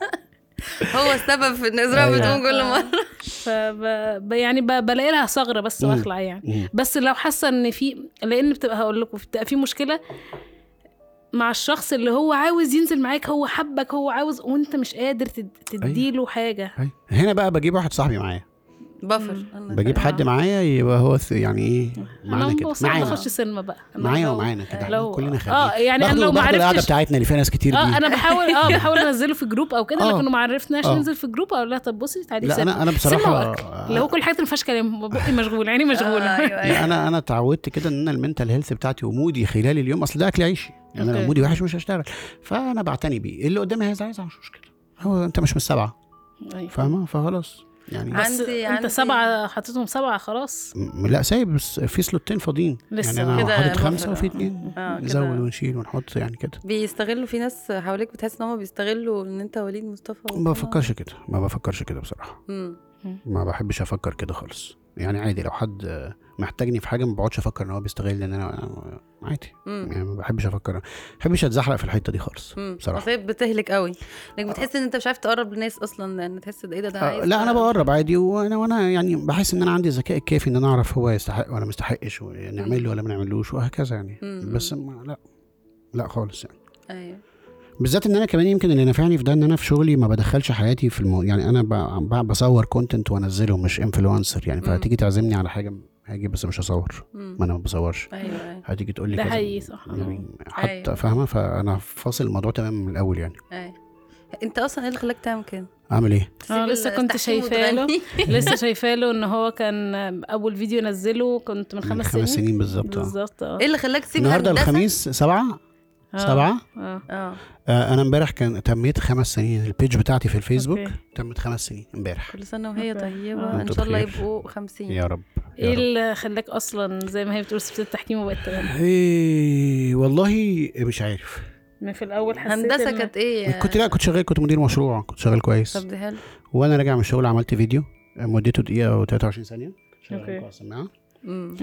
S3: [LAUGHS]
S2: هو السبب في ان اسراء
S3: أيوة.
S2: بتقوم كل مره [LAUGHS]
S1: فب... ب- يعني ب... بلاقي لها ثغره بس
S3: مم.
S1: واخلع يعني
S3: مم.
S1: بس لو حاسه ان في لان بتبقى هقول لكم بتبقى في مشكله مع الشخص اللي هو عاوز ينزل معاك هو حبك هو عاوز وانت مش قادر تد... تديله حاجه
S3: أيوة. هنا بقى بجيب واحد صاحبي معايا
S2: بفر
S3: [LAUGHS] بجيب
S2: آه،
S3: حد معايا يبقى هو ث- يعني ايه معانا
S1: انا
S3: كده
S1: بصراحة
S3: معانا
S1: بخش سينما بقى أنا
S3: معايا
S1: لو-
S3: ومعانا كده
S1: لو-
S3: كلنا خارجين
S1: آه، يعني أنا
S3: باخده-
S1: لو ما
S3: باخده القعده
S1: عرفتش-
S3: بتاعتنا اللي فيها ناس كتير دي
S1: اه انا بحاول
S3: [LAUGHS]
S1: اه بحاول انزله في جروب او كده
S3: آه.
S1: لكن ما عرفناش
S3: آه.
S1: ننزل في جروب اقول لها طب بصي تعالي
S3: لا
S1: سينما
S3: انا انا بصراحه
S1: وأكل. اللي هو كل الحاجات اللي ما فيهاش كلام بقي مشغول عيني مشغوله [LAUGHS]
S3: لا انا انا اتعودت كده ان انا المنتال هيلث بتاعتي ومودي خلال اليوم اصل ده اكل عيشي انا لو
S1: أوكي.
S3: مودي وحش مش هشتغل فانا بعتني بيه اللي قدامي هيزعل يزعل مش مشكله هو انت مش من السبعه
S1: أيوة.
S3: فاهمه فخلاص يعني
S1: بس
S2: عندي-
S1: انت
S2: عندي-
S1: سبعه حطيتهم سبعه
S2: [LAUGHS]
S1: خلاص
S3: م- لا سايب بس في سلوتين فاضيين
S1: لسه.
S3: يعني انا
S2: كده
S3: حاطط خمسه
S2: الوفر،
S3: وفي
S2: آه.
S3: اتنين
S2: آه، كده.
S3: نزود ونشيل ونحط يعني كده
S2: بيستغلوا في ناس حواليك بتحس ان هم بيستغلوا ان انت وليد مصطفى
S3: ما بفكرش كده ما بفكرش كده بصراحه
S2: مم.
S3: ما بحبش افكر كده خالص يعني عادي لو حد محتاجني في حاجه ما بقعدش افكر ان هو بيستغل ان انا عادي
S2: مم.
S3: يعني ما بحبش افكر ما بحبش اتزحلق في الحته دي خالص
S2: مم.
S3: بصراحه
S2: أصل هي بتهلك قوي لانك بتحس ان انت مش عارف تقرب لناس اصلا لان تحس ده ايه ده ده
S3: آه،
S2: عايز-
S3: لا انا بقرب عادي وانا وانا يعني بحس ان انا عندي الذكاء الكافي ان انا اعرف هو يستحق ولا ما يستحقش ونعمل له ولا ما نعملوش وهكذا يعني
S2: مم.
S3: بس ما لا لا خالص يعني
S2: ايوه
S3: بالذات ان انا كمان يمكن اللي نافعني في ده ان انا في شغلي ما بدخلش حياتي في المو... يعني انا ب... ب... بصور كونتنت وانزله مش انفلونسر يعني
S2: مم.
S3: فهتيجي تعزمني على حاجه هاجي بس مش هصور
S2: مم.
S3: ما انا ما بصورش
S2: ايوه ايوه
S3: هتيجي تقول لي
S1: ده
S3: كذا.
S1: حقيقي صح.
S3: يعني
S2: أيوة.
S3: حتى فاهمه فانا فاصل الموضوع تماما من الاول يعني
S2: ايوه انت اصلا ايه اللي خلاك تعمل كده؟
S3: اعمل ايه
S2: تسيب
S1: آه، لسه
S2: ال-
S1: كنت
S2: التحكيم
S1: شايفاه له.
S2: وتغني؟ [LAUGHS]
S1: لسه شايفه له ان هو كان اول فيديو نزله كنت من
S3: من
S1: خمس
S3: خمس
S1: سنين
S3: سنين بالظبط آه.
S1: بالظبط اه
S2: ايه اللي خلاك تسيب
S3: النهارده
S2: الهندسة؟
S3: الخميس سبعة
S1: آه.
S3: سبعة
S1: اه
S2: اه
S3: آه انا امبارح كان تميت خمس سنين البيج بتاعتي في الفيسبوك
S1: أوكي.
S3: تمت خمس سنين امبارح
S2: كل سنه وهي
S1: أوكي.
S2: طيبه
S1: آه.
S2: ان شاء الله
S3: بخير.
S2: يبقوا 50
S3: يا رب يا
S1: ايه
S3: رب.
S1: اللي خلاك اصلا زي ما هي بتقول سبت التحكيم وبقت تغني
S3: ايه والله مش عارف
S1: من في الاول حسيت
S2: هندسه
S1: إن-
S2: كانت ايه؟
S3: كنت لا كنت شغال كنت مدير مشروع كنت شغال كويس
S2: طب ده حلو
S3: وانا راجع من الشغل عملت فيديو آه، مدته دقيقه و23 ثانيه
S1: أوكي.
S3: شغال على السماعه
S2: مم.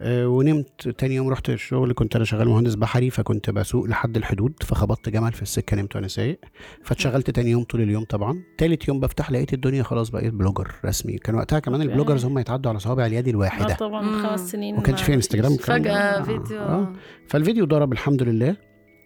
S3: آه، ونمت تاني يوم رحت الشغل كنت انا شغال مهندس بحري فكنت بسوق لحد الحدود فخبطت جمل في السكه نمت وانا سايق فاتشغلت تاني يوم طول اليوم طبعا تالت يوم بفتح لقيت الدنيا خلاص بقيت بلوجر رسمي كان وقتها كمان
S1: أوكي.
S3: البلوجرز هم يتعدوا على صوابع اليد
S1: اه
S3: الواحده
S1: طبعا
S2: مم.
S1: من خمس سنين
S3: إيه ما كانش في انستجرام كان-
S2: فجاه
S3: آه،
S2: فيديو
S3: آه. فالفيديو ضرب الحمد لله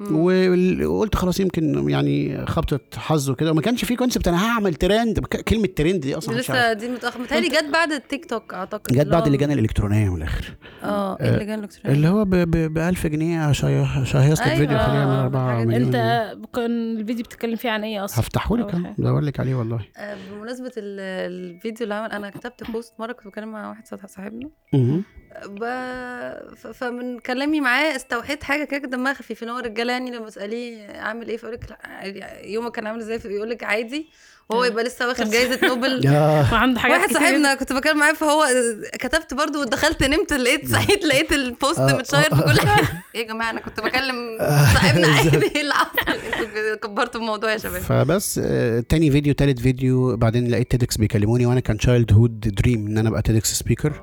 S2: مم.
S3: وال- وقلت خلاص يمكن يعني خبطه حظ وكده وما كانش في كونسبت انا هعمل ترند ك- كلمه ترند دي اصلا مش عارف.
S2: لسه دي متاخر متهيألي جت بعد التيك توك اعتقد
S3: جت بعد
S2: هو-
S3: اللجان الالكترونيه من الاخر
S2: اه اللجان الالكترونيه
S3: اللي هو ب ب- 1000 جنيه شهي- شهيص لك
S2: أيوة.
S3: فيديو خليها من 4
S2: الحاجات دي.
S3: مليون
S1: انت كان الفيديو بتتكلم فيه عن ايه اصلا
S3: هفتحه لك
S1: أول حاجة.
S3: بدور لك عليه والله
S2: آه، بمناسبة ال- الفيديو اللي عمل أنا كتبت بوست مرة كنت بتكلم مع واحد صاح- صاحبنا آه، ب... ف- فمن كلامي معاه استوحيت حاجة كده دمها خفيف إن هو الرجالة يعني لما اسأليه عامل إيه فيقول لك يومك كان عامل إزاي فيقول لك عادي
S1: آه.
S2: وهو يبقى لسه واخد جايزة نوبل
S3: يا
S1: وعنده حاجات
S2: واحد
S1: كتير
S2: صاحبنا كنت بتكلم معاه فهو كتبت برضو ودخلت نمت لقيت صحيت لقيت البوست
S3: آه،
S2: متشير في إيه
S3: آه، [LAUGHS]
S2: كل حاجه يا جماعه انا كنت بكلم صاحبنا عادي ايه اللي حصل انتوا كبرتوا الموضوع يا
S3: [LAUGHS]
S2: شباب
S3: فبس آه، تاني فيديو تالت فيديو بعدين لقيت تيدكس بيكلموني وانا كان تشايلد هود دريم ان انا ابقى تيدكس سبيكر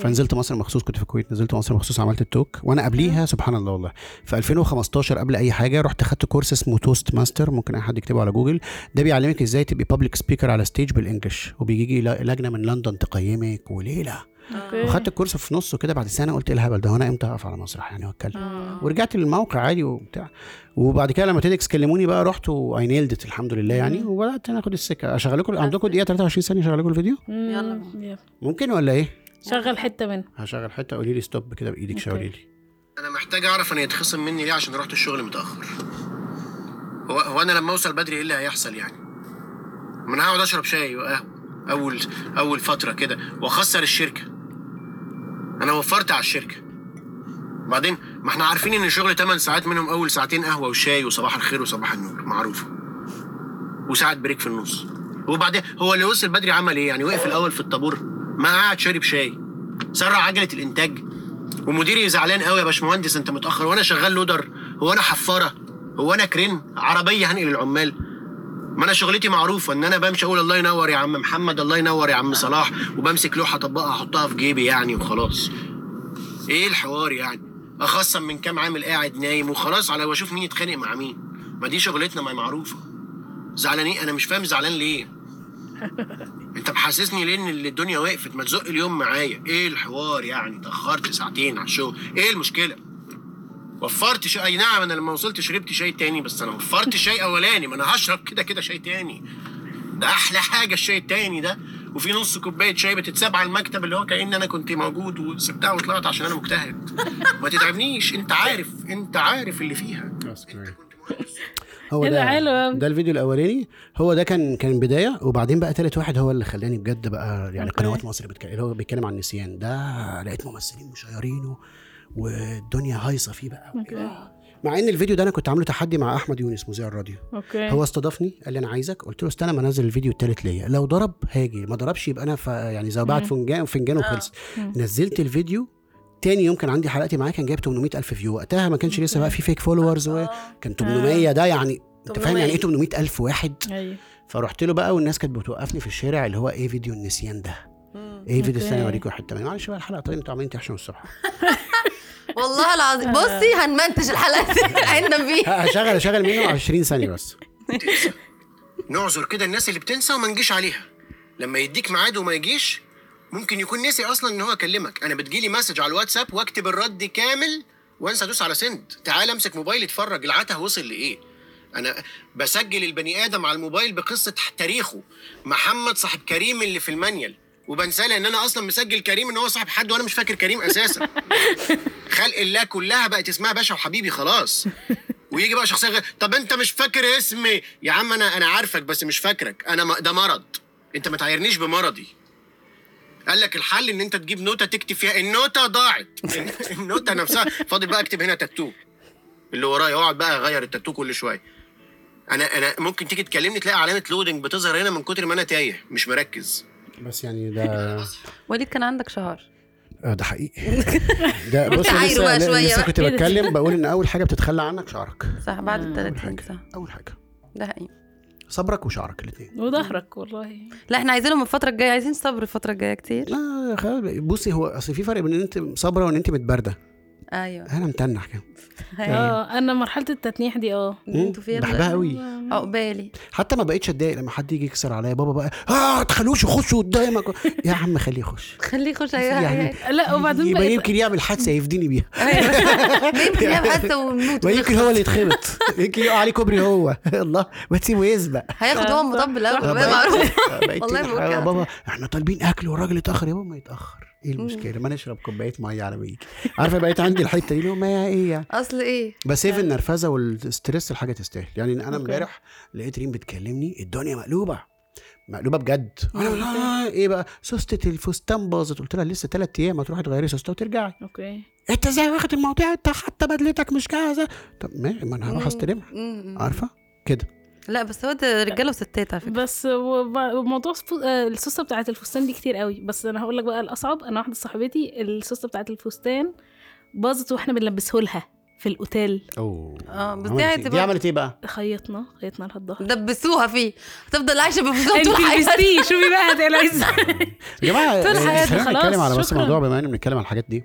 S3: فنزلت مصر مخصوص كنت في الكويت نزلت مصر مخصوص عملت التوك وانا قبليها سبحان الله والله في 2015 قبل اي حاجه رحت خدت كورس اسمه توست ماستر ممكن اي حد يكتبه على جوجل ده بيعلمك ازاي تبقي بابليك سبيكر على ستيج بالانجلش وبيجي لا- لجنه من لندن تقيمك وليله
S1: أوكي.
S3: وخدت الكورس في نصه كده بعد سنه قلت ايه الهبل ده هو انا امتى هقف على مسرح يعني واتكلم
S2: آه.
S3: ورجعت للموقع عادي وبتاع وبعد كده لما تيدكس كلموني بقى رحت واينيلدت الحمد لله يعني وبدات انا اخد السكه اشغل لكم عندكم دقيقه 23 ثانيه اشغل لكم الفيديو
S2: يلا بينا.
S1: يلا.
S3: ممكن ولا ايه؟
S1: شغل حته منه
S3: هشغل حته قولي لي ستوب كده بايدك شاوري لي
S4: انا محتاج اعرف انا يتخصم مني ليه عشان رحت الشغل متاخر هو, هو انا لما اوصل بدري ايه اللي هيحصل يعني ما انا هقعد اشرب شاي وقهوه اول اول فتره كده واخسر الشركه انا وفرت على الشركه بعدين ما احنا عارفين ان الشغل 8 ساعات منهم اول ساعتين قهوه وشاي وصباح الخير وصباح النور معروفه وساعه بريك في النص وبعدين هو اللي وصل بدري عمل ايه يعني وقف الاول في الطابور ما قعد شارب شاي سرع عجله الانتاج ومديري زعلان قوي يا باشمهندس انت متاخر وانا شغال لودر هو انا حفاره هو انا كرين عربيه هنقل العمال ما انا شغلتي معروفه ان انا بمشي اقول الله ينور يا عم محمد الله ينور يا عم صلاح وبمسك لوحه اطبقها احطها في جيبي يعني وخلاص ايه الحوار يعني اخصم من كام عامل قاعد نايم وخلاص على واشوف مين يتخانق مع مين ما دي شغلتنا ما هي معروفه زعلانين انا مش فاهم زعلان ليه انت محسسني ليه ان الدنيا وقفت ما تزق اليوم معايا ايه الحوار يعني اتاخرت ساعتين على الشغل ايه المشكله وفرت شاي اي نعم انا لما وصلت شربت شاي تاني بس انا وفرت شاي اولاني ما انا هشرب كده كده شاي تاني ده احلى حاجه الشاي التاني ده وفي نص كوبايه شاي بتتساب على المكتب اللي هو كان انا كنت موجود وسبتها وطلعت عشان انا مجتهد ما تتعبنيش انت عارف انت عارف اللي فيها كنت مهندس.
S3: هو
S1: إيه ده حلو
S3: ده
S1: أوي.
S3: ده الفيديو الاولاني هو ده كان كان بدايه وبعدين بقى تالت واحد هو اللي خلاني بجد بقى يعني
S1: أوكي.
S3: قنوات مصر بتكلم اللي هو بيتكلم عن النسيان ده لقيت ممثلين مشيرينه والدنيا هايصه فيه بقى وإيه ده؟ مع ان الفيديو ده انا كنت عامله تحدي مع احمد يونس مذيع الراديو
S1: اوكي
S3: هو استضافني قال لي انا عايزك قلت له استنى ما انزل الفيديو التالت ليا لو ضرب هاجي ما ضربش يبقى انا ف... يعني زي بعد فنجان فنجان وخلص نزلت الفيديو تاني يوم كان عندي حلقتي معاه كان جايب 800 الف فيو وقتها ما كانش لسه بقى في فيك فولورز وكان 800 ده يعني انت فاهم يعني ايه 800 الف واحد
S1: ايوه
S3: فرحت له بقى والناس كانت بتوقفني في الشارع اللي هو ايه فيديو النسيان ده ايه فيديو الثانيه اوريكم حته منه معلش بقى الحلقه طيب انتوا عمالين تحشوا الصبح [LAUGHS]
S2: والله العظيم بصي هنمنتج الحلقه دي [LAUGHS] عندنا بيها
S3: اشغل اشغل منه 20 ثانيه بس
S4: نعذر كده الناس اللي بتنسى وما نجيش عليها لما يديك ميعاد وما يجيش ممكن يكون نسي اصلا ان هو كلمك انا بتجيلي مسج على الواتساب واكتب الرد كامل وانسى ادوس على سند تعال امسك موبايلي اتفرج العته وصل لايه انا بسجل البني ادم على الموبايل بقصه تاريخه محمد صاحب كريم اللي في المانيال وبنساه لان انا اصلا مسجل كريم ان هو صاحب حد وانا مش فاكر كريم اساسا خلق الله كلها بقت اسمها باشا وحبيبي خلاص ويجي بقى شخصيه غير طب انت مش فاكر اسمي يا عم انا انا عارفك بس مش فاكرك انا م... ده مرض انت ما تعايرنيش بمرضي قال لك الحل ان انت تجيب نوته تكتب فيها النوته ضاعت [LAUGHS] النوته نفسها فاضل بقى اكتب هنا تاتو اللي ورايا اقعد بقى اغير التاتو كل شويه انا انا ممكن تيجي تكلمني تلاقي علامه لودنج بتظهر هنا من كتر ما انا تايه مش مركز
S3: بس يعني ده
S2: وليد كان عندك شهر
S3: آه، ده
S2: [LAUGHS]
S3: حقيقي ده بص
S2: عايره
S3: لسه
S2: بقى شوية
S3: لسه
S2: بقى.
S3: كنت بتكلم بقول ان اول حاجه بتتخلى عنك شعرك
S2: صح بعد ال
S3: اول
S2: 30 صح
S3: حاجه اول حاجه
S2: ده حقيقي
S3: صبرك وشعرك الاثنين
S1: وظهرك والله
S2: لا احنا عايزينهم الفتره الجايه عايزين صبر الفتره الجايه كتير
S3: لا خلاص بصي هو اصل في فرق بين ان انت صابره وان انت متبرده
S2: ايوه
S3: انا متنح كده أيوه.
S1: اه انا مرحله التتنيح دي اه
S2: دي انتوا فيها
S3: إيه؟ بحبها قوي
S2: عقبالي
S3: حتى ما بقتش اتضايق لما حد يجي يكسر عليا بابا بقى اه ما تخلوش يخش قدامك يا عم خليه
S2: [LAUGHS]
S3: يخش
S2: خليه يخش اي
S3: يعني
S2: حاجه
S1: لا وبعدين
S3: يبقى
S1: بقيت
S3: يمكن يعمل حادثه يفديني بيها
S2: أيوة.
S3: [LAUGHS]
S2: يمكن يبقى حاسه ونموت
S3: يعني. ما يمكن
S2: ونخلص.
S3: هو اللي يتخبط
S2: [LAUGHS]
S3: يمكن يقع عليه كوبري هو [LAUGHS] الله ما تسيبه يسبق
S2: هياخد هو المطب الاول
S3: آه،
S2: بقى
S3: بقيت-
S2: معروف
S3: [LAUGHS] آه، بقيت
S2: والله
S3: تضحك.
S2: بقول
S3: آه،
S2: كده. [LAUGHS]
S3: بابا احنا طالبين اكل والراجل اتاخر يا بابا ما يتاخر ايه المشكله ما نشرب كوبايه ميه على ما يجي عارفه بقيت عندي الحته دي اللي هو ما هي ايه يعني
S2: اصل ايه
S3: بس هي في النرفزه والستريس الحاجه تستاهل يعني انا امبارح لقيت ريم بتكلمني الدنيا مقلوبه مقلوبه بجد انا آه، ايه بقى سوستة الفستان باظت قلت لها لسه ثلاث ايام هتروحي تغيري سوستة وترجعي
S1: اوكي
S3: انت ازاي واخد المواضيع انت حتى بدلتك مش جاهزه طب ما ما انا هروح استلمها
S2: مم.
S3: عارفه كده
S2: لا بس هو ده رجاله وستات على فكره
S1: بس وب- وموضوع سفو- آه، السوسه بتاعت الفستان دي كتير قوي بس انا هقول لك بقى الاصعب انا واحده صاحبتي السوسه بتاعت الفستان باظت واحنا بنلبسه لها في الاوتيل
S3: اوه
S2: آه، بس دي
S3: عملت إيه؟ دي
S2: هتبقى-
S3: عملت ايه بقى؟
S1: خيطنا خيطنا لها
S2: [LAUGHS]
S1: الظهر
S2: دبسوها فيه هتفضل عايشه بفضل
S1: انت
S2: طول حياتها
S1: لبستيه شوفي بقى هتقلعي ازاي
S2: [LAUGHS]
S3: يا جماعه
S1: طول
S3: آه،
S1: حياتي
S3: خلينا
S1: خلاص،
S3: نتكلم على بس
S1: شكراً.
S3: الموضوع بما اننا بنتكلم على الحاجات دي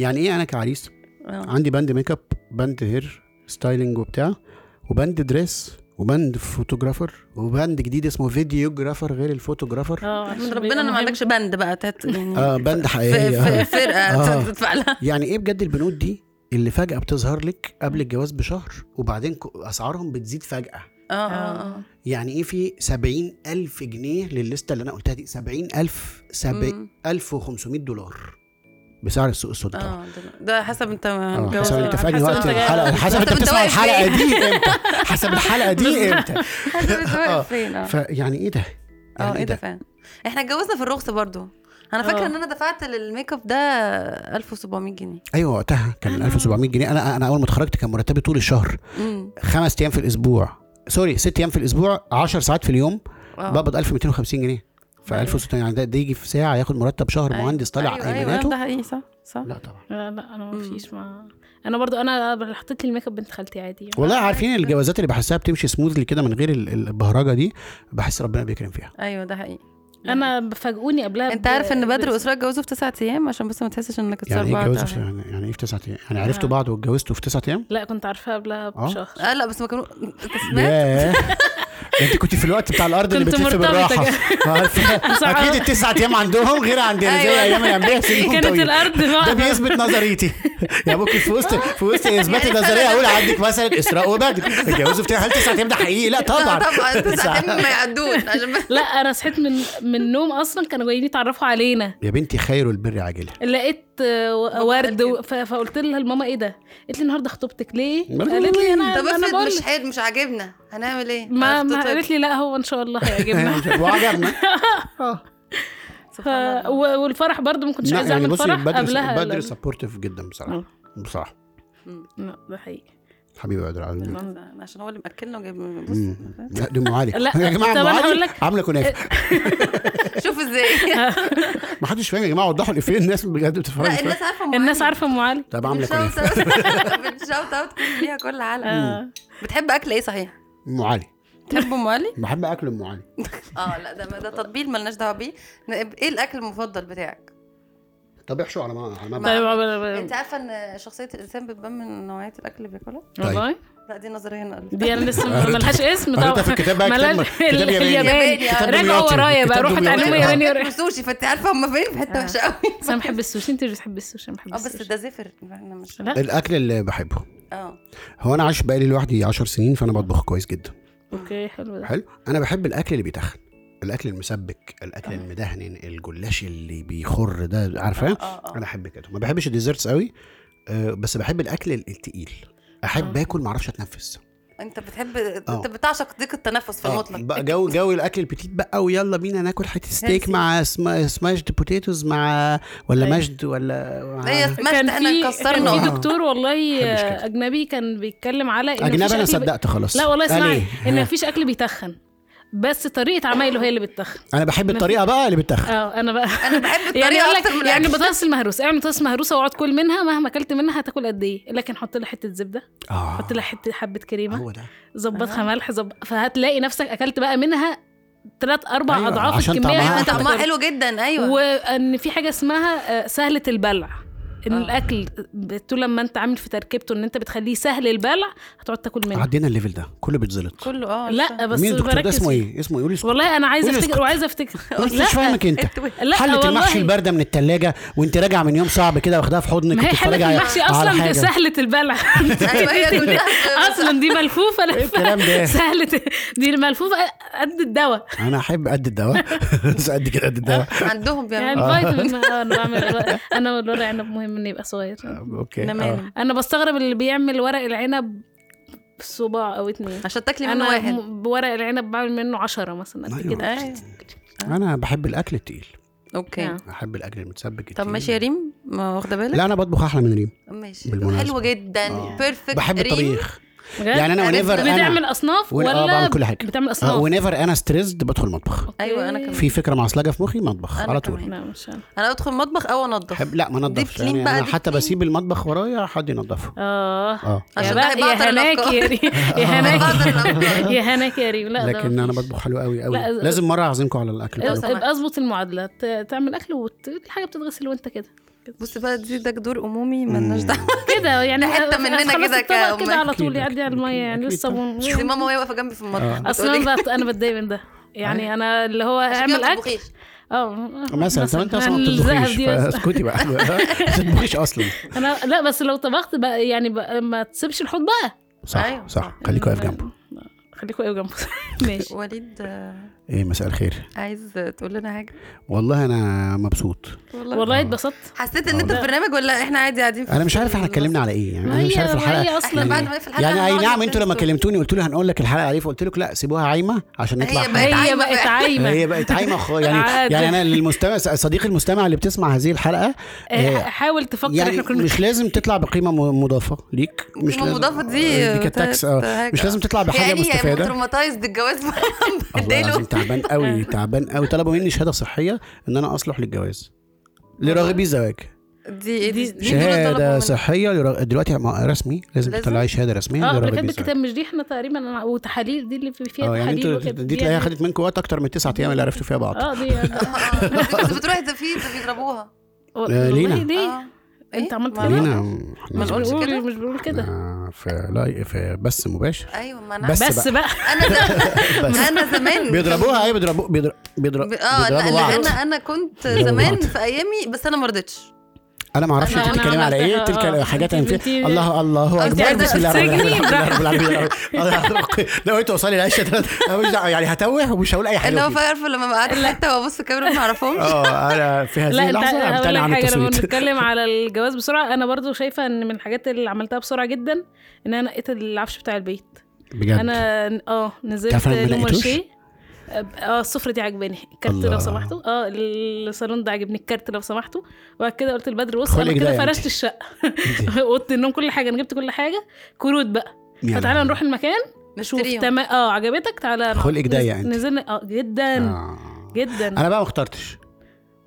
S3: يعني ايه انا كعريس
S2: آه.
S3: عندي بند ميك اب بند هير ستايلنج وبتاع وبند دريس وبند فوتوجرافر وبند جديد اسمه فيديوجرافر غير الفوتوجرافر
S1: اه
S2: آه، من ربنا انا ما عندكش بند بقى تت... يعني
S3: اه بند
S2: في
S3: حقيقي
S2: في
S3: آه. آه.
S2: فرقه تدفع لها
S3: [LAUGHS] يعني ايه بجد البنود دي اللي فجأة بتظهر لك قبل الجواز بشهر وبعدين ك- اسعارهم بتزيد فجأة
S2: اه
S1: آه.
S2: اه اه
S3: يعني ايه في 70 ألف جنيه للستة اللي انا قلتها دي 70 ألف
S2: مم.
S3: 1500 دولار بسعر السوق السوداء
S1: آه.
S2: اه ده- ده حسب انت
S3: اه،
S2: متجوز
S3: حسب
S1: جوزها.
S3: انت في انهي
S1: حسب
S3: وقت
S1: انت جاي-
S3: الحلقه حسب
S2: [LAUGHS]
S3: انت
S2: انت
S3: بتسمع
S2: واقف
S3: الحلقه
S2: فين.
S3: دي امتى حسب الحلقه
S2: [LAUGHS]
S3: دي امتى
S2: حسب انت
S3: آه.
S2: واقف فين اه
S3: فيعني ايه ده؟
S2: اه
S3: يعني
S2: ايه ده فعلا احنا اتجوزنا في الرخص برضو انا فاكره
S1: آه.
S2: ان انا دفعت للميك اب ده 1700 جنيه
S3: ايوه وقتها
S2: آه.
S3: كان 1700 جنيه انا انا اول ما اتخرجت كان مرتبي طول الشهر
S2: امم
S3: خمس ايام في الاسبوع سوري ست ايام في الاسبوع 10 ساعات في اليوم
S2: آه.
S3: بقبض 1250 جنيه ف
S2: أيوة.
S3: 1600 يعني ده, ده يجي في ساعه ياخد مرتب شهر
S2: أيوة.
S3: مهندس طالع
S2: أيوة، أيوة،
S3: ايماناته
S2: ده حقيقي صح صح
S3: لا طبعا
S1: لا آه، لا انا ما
S2: مم.
S1: فيش ما انا برضو انا حطيت لي الميك اب بنت خالتي عادي
S3: والله
S2: آه،
S3: عارفين
S2: أيوة.
S3: الجوازات اللي بحسها بتمشي سموذلي كده من غير ال- البهرجه دي بحس ربنا بيكرم فيها
S2: ايوه ده حقيقي
S1: انا بفاجئوني قبلها
S2: انت
S1: ب-
S2: عارف ان بدر
S1: بس-
S2: واسراء اتجوزوا في تسعة ايام عشان بس ما تحسش انك
S3: يعني
S2: اتسربعت
S3: ايه جوازوا
S2: أو
S3: في-
S2: حاجة.
S3: يعني يعني ايه في تسعة ايام يعني عرفتوا
S1: آه.
S3: بعض واتجوزتوا في تسعة ايام
S1: لا كنت عارفاها قبلها
S3: آه.
S1: بشهر
S2: اه لا بس ما كانوا انت سمعت
S3: ياه
S1: [LAUGHS]
S3: ده انت كنت في الوقت بتاع الارض اللي
S1: كنت
S3: بتلف
S1: مرتبطة
S3: [LAUGHS] بالراحه عارفة؟
S1: [LAUGHS] بصراحة.
S3: اكيد التسعة ايام عندهم غير عندنا زي
S2: أيوة.
S3: ايام الانبياء سنين
S1: كانت
S3: طويل
S1: الارض
S3: ده
S1: واقفة.
S3: بيثبت
S1: [LAUGHS]
S3: نظريتي يعني ممكن في وسط في وسط اثبات
S2: يعني
S3: النظريه
S2: فعلاً.
S3: اقول عندك مثلا اسراء وبدر اتجوزوا بتاع هل تسعة ايام ده حقيقي؟ لا طبعا
S2: طبعا آه، تسعة
S3: تسعة.
S2: ايام ما يعدوش عشان بس
S1: لا انا صحيت من من النوم اصلا كانوا جايين يتعرفوا علينا
S3: يا بنتي خير البر عاجله
S1: لقيت آه،
S2: ماما
S1: ورد
S2: قالت
S1: و- ف- فقلت لها لماما ايه ده قلت لي النهارده خطوبتك ليه
S3: برضو
S1: قالت لي انا
S2: طب
S1: انا
S2: افرض
S1: بقول
S2: مش حلو مش عاجبنا هنعمل ايه؟
S1: ما, ما
S2: هتطلق.
S1: قالت لي لا هو ان شاء الله
S3: [LAUGHS]
S1: هيعجبنا [LAUGHS]
S3: وعجبنا
S1: آه. ف...
S2: [LAUGHS] سبحان الله.
S1: و- والفرح برضو ما كنتش
S3: لا، يعني
S1: عايزه اعمل
S3: بصي
S1: فرح قبلها
S3: بدر بدر
S1: لا.
S3: سبورتيف جدا بصراحه
S1: آه.
S3: بصراحه
S1: لا، ده حقيقي [LAUGHS]
S3: حبيبي بدر عايز منك.
S2: بس عشان هو اللي ماكلنا وجايب
S3: مم.
S2: بص
S3: لا دي ام علي
S1: لا،
S3: [LAUGHS] يا جماعه
S1: طب
S3: ام
S1: أنا هقول
S3: علي
S1: لك- آه،
S3: عامله كنافه
S2: شوف
S1: [LAUGHS]
S2: ازاي
S3: ما حدش فاهم يا جماعه وضحوا الافيه الناس بجد بتتفرج
S2: لا الناس عارفه أم
S1: الناس
S2: علي.
S1: عارفه ام علي
S3: طب عامله
S2: بتشوت
S3: كنافه
S2: اوت
S3: [LAUGHS]
S2: بتشوت اوت كل ليها كل علقه
S1: آه.
S2: بتحب اكل ايه صحيح؟
S3: ام علي
S2: بتحب ام علي؟
S3: بحب اكل ام علي
S2: اه لا ده ده تطبيل ملناش دعوه بيه ايه الاكل المفضل بتاعك؟
S3: طب احشوا على ما على ما
S1: طيب،
S2: انت عارفه ان شخصيه الانسان بتبان من نوعيه الاكل اللي بياكلها؟
S3: طيب.
S1: والله
S2: لا دي نظريه انا قلت
S1: دي انا لسه
S3: [LAUGHS]
S1: ما- ملهاش اسم
S3: قريتها في
S1: طبعا
S3: الكتاب بقى كتاب
S1: ملهاش-
S3: كتاب
S1: ال-
S3: ياباني
S1: الياباني
S2: كتاب
S1: راجعوا
S3: دمياطي.
S1: ورايا بقى
S3: كتاب
S1: روحوا
S3: دمياطي.
S1: اتعلموا
S3: آه.
S1: ياباني
S2: بحب السوشي فانت عارفه هم فين في حته وحشه قوي
S1: آه. بس انا بحب السوشي انت مش بتحبي السوشي انا بحب
S2: اه بس
S1: السوشي
S2: ده زفر احنا مش
S1: لا
S3: الاكل اللي بحبه
S2: اه
S3: هو انا عايش بقالي لوحدي 10 سنين فانا بطبخ كويس جدا
S1: اوكي حلو ده
S3: حلو انا بحب الاكل اللي بيتخن الاكل المسبك
S1: آه.
S3: الاكل المدهن الجلاش اللي بيخر ده عارفه
S1: آه،
S2: اه
S3: انا
S2: اه
S3: احب كده ما بحبش الديزرتس قوي آه، بس بحب الاكل التقيل احب
S1: آه.
S3: اكل ما اعرفش اتنفس
S2: انت بتحب
S3: آه.
S2: انت بتعشق ضيق التنفس في
S3: اه
S2: المطلق
S3: بقى جو جو الاكل البتيت بقى ويلا بينا ناكل حته ستيك
S2: Healthy.
S3: مع سما سماشد بوتيتوز مع ولا
S1: أيوة.
S3: مشد ولا مع-
S2: هي إيه،
S1: كان
S2: سمعت
S1: في
S2: احنا
S1: كان
S2: كسرنا
S1: في
S3: آه.
S1: دكتور
S3: [LAUGHS]
S1: والله
S3: بحبش كده.
S1: اجنبي كان بيتكلم على إن مفيش
S3: اجنبي انا
S1: أكل ب-
S3: صدقت خلاص
S1: لا والله
S3: قال
S1: اسمعي
S3: إيه؟
S1: ان
S3: ها.
S1: مفيش اكل بيتخن بس طريقه عمايله هي اللي بتتخن
S3: انا بحب الطريقه بقى اللي بتخن
S1: اه انا
S3: [LAUGHS]
S1: بقى
S2: انا بحب
S1: يعني
S2: الطريقه
S1: اقول
S2: اكتر من
S1: لك يعني
S2: الاكل
S1: البطاطس المهروسه اعمل بطاطس مهروسه واقعد كل منها مهما اكلت منها هتاكل قد ايه لكن حط لها حته زبده
S3: اه
S1: حط لها حته حبه كريمه
S3: هو ده
S1: ظبطها
S2: آه.
S1: ملح زب... فهتلاقي نفسك اكلت بقى منها ثلاث اربع
S3: أيوة،
S1: اضعاف
S3: عشان
S1: الكميه
S3: طعمها
S1: اللي
S2: ايوه
S1: أنت
S2: طعمها
S1: بتاكلها.
S2: حلو جدا ايوه
S1: وان في حاجه اسمها آه، سهله البلع ان
S2: آه.
S1: الاكل ب- طول لما انت عامل في تركيبته ان انت بتخليه سهل البلع هتقعد تاكل منه
S3: عدينا الليفل ده كله بيتزلط
S2: كله اه
S1: لا بس
S3: مين الدكتور ده
S1: بركز
S3: اسمه
S1: فيه.
S3: ايه اسمه يقول لي
S1: والله انا عايزه
S3: قولي
S1: افتكر
S3: اسكت.
S1: وعايزه افتكر
S3: انت مش فاهمك انت
S1: [LAUGHS] لا
S3: حلة المحشي
S1: والله.
S3: البارده من الثلاجه وانت راجع من يوم صعب كده واخدها في حضنك
S1: ما هي حلة
S3: وبتتفرجي على-
S1: المحشي
S3: على
S1: اصلا
S3: حاجة.
S1: سهله
S3: [LAUGHS]
S1: البلع
S2: ايوه هي كلها
S1: اصلا دي ملفوفه
S3: إيه الكلام
S1: لفه [LAUGHS]
S3: ده؟
S1: سهله دي الملفوفه قد الدواء
S3: انا احب قد الدواء [LAUGHS] بس قد كده قد
S1: [LAUGHS]
S3: الدواء
S2: عندهم
S1: يعني
S2: بيعملوا
S1: الفيتامين آه، انا بعمل انا والورق عنب مهم انه يبقى صغير
S3: اوكي آه.
S2: نمانم
S1: انا بستغرب اللي بيعمل ورق العنب صباع او اتنين
S2: عشان تاكلي من
S1: انا
S2: واحد
S1: م- بورق العنب بعمل منه عشرة مثلا قد
S3: أيوة.
S1: كده
S2: أيوة.
S3: انا بحب الاكل التقيل
S2: اوكي
S1: آه.
S3: احب الاكل المتسبك
S2: طب
S3: التقيل.
S2: ماشي يا ريم ما واخده بالك
S3: لا انا بطبخ احلى من ريم
S2: ماشي
S3: بالمناسبة.
S2: حلوه جدا
S3: آه.
S2: بيرفكت
S3: بحب الطبيخ
S1: بجد؟
S3: يعني انا
S2: عرفت
S3: ونيفر
S1: بتعمل
S3: انا
S1: اصناف
S3: ون- آه،
S1: ولا
S3: بعمل كل حاجة. آه،
S1: بتعمل اصناف
S3: ونيفر انا ستريسد بدخل المطبخ
S1: أوكي.
S2: ايوه انا كمان
S3: في فكره معصلجه في مخي مطبخ
S2: أنا
S3: على طول
S2: كمان.
S1: لا مش عارفة.
S2: انا ادخل مطبخ او انضف
S3: بحب لا ما نضفش
S2: clean
S3: يعني
S2: بقى،
S3: انا
S2: deep
S3: حتى
S2: clean.
S3: بسيب المطبخ ورايا حد ينضفه
S1: اه
S3: اه
S1: يا
S2: عشان
S1: بقى-
S2: بحب أعطر
S1: يا هناك يا
S2: الأفكار. [LAUGHS]
S1: ريم يا هناك
S2: بقدر الأفكار.
S1: يا هناك يا ريم لا ده
S3: لكن انا
S1: مفيش.
S3: بطبخ حلو قوي قوي
S1: لا، ز-
S3: لازم مره اعزمكم على الاكل
S1: ابقى-
S3: كلكم.
S2: سمعت.
S1: ابقى اظبط المعادله ت- تعمل اكل والحاجه بتتغسل وانت كده
S2: بص بقى دي ده جدور امومي مالناش
S3: [LAUGHS]
S2: دعوه
S1: كده يعني
S2: ده حتة مننا
S1: خلاص
S2: كده
S1: الطبق
S2: كأم.
S1: كده على طول
S3: أكيد،
S1: يعدي على
S3: أكيد،
S1: الميه يعني
S3: أكيد
S1: لسه
S2: [LAUGHS] دي ماما وهي واقفه جنبي في
S3: آه.
S2: المطبخ
S1: اصلا
S2: [LAUGHS] بتقولي
S1: انا بت- أنا بتضايق من ده
S2: أيوه.
S1: يعني انا اللي هو
S2: عشان كده
S1: اعمل
S2: ما
S1: اكل
S2: تطبخيش.
S1: اه
S3: مثلا طب انت اصلا ما
S1: الزهق
S3: بتطبخيش
S1: دي بس.
S3: فاسكتي بقى ما بتطبخيش اصلا
S1: انا لا بس لو طبخت بقى يعني بقى ما تسيبش الحوض بقى
S3: صح
S2: أيوة،
S3: صح
S2: صح.
S3: خليكوا واقف جنبه
S1: خليكوا واقف جنبه [LAUGHS] ماشي
S2: وليد آه،
S3: ايه مساء الخير
S2: عايز تقول لنا حاجه
S3: والله انا مبسوط
S1: والله اتبسطت
S2: حسيت ان انت في برنامج ولا احنا عادي قاعدين في
S3: انا مش عارف احنا اتكلمنا على ايه يعني انا مش عارف الحلقه
S1: هي
S2: احنا
S1: اصلا
S2: بعد ما في الحلقه
S3: يعني اي
S2: هنقعد
S3: نعم انتوا لما
S2: brainstorm.
S3: كلمتوني قلتوا لي هنقول لك الحلقه عليه فقلت لك لا سيبوها عايمه عشان
S2: هي
S3: نطلع
S2: بقت
S3: حلقة.
S1: هي
S2: عايمة
S1: بقت
S2: فعلا.
S1: عايمه
S3: هي بقت عايمه خ-
S2: [LAUGHS]
S3: يعني
S1: عادي.
S3: يعني انا للمستمع صديقي المستمع اللي بتسمع هذه الحلقه
S2: إيه،
S1: آه،
S3: آه،
S1: حاول تفكر
S3: يعني
S1: احنا كنا
S3: مش لازم تطلع بقيمه م- مضافه ليك مش
S2: قيمة
S3: لازم
S2: مضافة دي
S3: آه، دي كانت تاكس آه،
S2: حاجة.
S3: مش لازم تطلع بحاجه
S2: يعني
S3: مستفاده
S2: متروماتايزد
S3: [LAUGHS]
S2: الجواز
S3: الله العظيم
S2: بديله
S3: تعبان
S2: [LAUGHS] آه.
S3: قوي تعبان قوي طلبوا مني شهاده صحيه ان انا اصلح للجواز لراغبي الزواج
S2: دي ايه دي مين دول اللي آه. طلبوا
S3: شهاده
S2: منك؟
S3: صحيه لرا... دلوقتي ما- رسمي لازم
S2: لازم؟ آه،
S3: تطلعي شهاده رسميه
S1: اه
S3: لراغبي
S1: لكن
S3: الزواج
S1: الكتاب مش دي احنا تقريبا أنا- وتحاليل دي اللي في-
S3: اه
S1: فيها
S3: يعني
S1: تحاليل
S3: انتوا
S1: وكده
S3: دي تلاقيها
S1: يعني-
S3: خدت منكم وقت اكتر من تسعة ايام اللي عرفتوا فيها بعض
S1: اه دي
S3: [LAUGHS]
S1: آه،
S2: آه، دي كنت بتروح تفيد بيضربوها
S1: والله
S3: لينا.
S1: ليه
S2: آه.
S1: أنت
S2: إيه؟
S1: عملت
S2: ما-
S1: كده؟
S3: لينا
S1: ما
S3: يعني احنا
S1: نقول
S2: كده؟
S1: قولي، مش بنقول كده
S3: آه، في لا في بس مباشر
S2: ايوه ما انا
S3: بس
S1: بس بقى
S2: انا زمان
S3: [LAUGHS] بس.
S2: انا زمان
S3: بيضربوها ايه بيضربوا بيضر- بيضر-
S2: ب-
S1: آه،
S2: اه لا
S3: بيضربوا بعض
S2: لان انا انا كنت
S3: بيضربوا
S2: زمان
S3: بعض.
S2: في ايامي بس انا ما رضيتش
S3: انا ما اعرفش
S1: أنا-
S3: انت
S1: أنا
S3: بتتكلمي على ايه
S1: عملتها،
S3: تلك
S1: آه.
S3: حاجات
S1: أنت-
S3: أنا
S1: أنت-
S3: فيه الله الله
S2: أنت
S3: اكبر
S2: عايزة
S3: بسم الله الرحمن
S1: تسجني
S3: الرحيم الحمد لله رب العالمين لو انت توصلي لعيشه انا مش دعوة، يعني هتوه ومش هقول اي حاجه
S2: اللي هو
S3: فيه.
S2: عارفه لما بقعد في حته وابص الكاميرا ما اعرفهمش
S3: اه انا في هذه
S1: لا انت
S3: اللحظه
S1: هقول
S3: امتنع
S1: لك
S3: عن
S1: حاجه لما
S3: التصويت
S1: بنتكلم على الجواز بسرعه انا برضو شايفه ان من الحاجات اللي عملتها بسرعه جدا ان انا نقيت العفش بتاع البيت
S3: بجد
S1: [LAUGHS] انا اه نزلت
S3: تعرف أنا ما لقيتوش؟
S1: لومارشيه اه السفرة دي عاجباني الكارت
S3: الله.
S1: لو سمحتوا اه الصالون ده عاجبني الكارت لو سمحتوا وبعد كده قلت لبدر بص انا
S3: خلقك ده
S1: كده
S3: يعني.
S1: فرشت [LAUGHS] الشقه اوضه النوم كل حاجه انا جبت كل حاجه كروت بقى
S3: يا
S1: فتعالى
S3: لهوي.
S1: نروح المكان شوف
S2: نشتريهم.
S1: تمام اه عجبتك تعالى نروح.
S3: خلقك ضيق
S1: نز-
S3: أنت.
S1: نزلنا اه جدا
S3: يعني. آه.
S1: جدا
S3: انا بقى ما اخترتش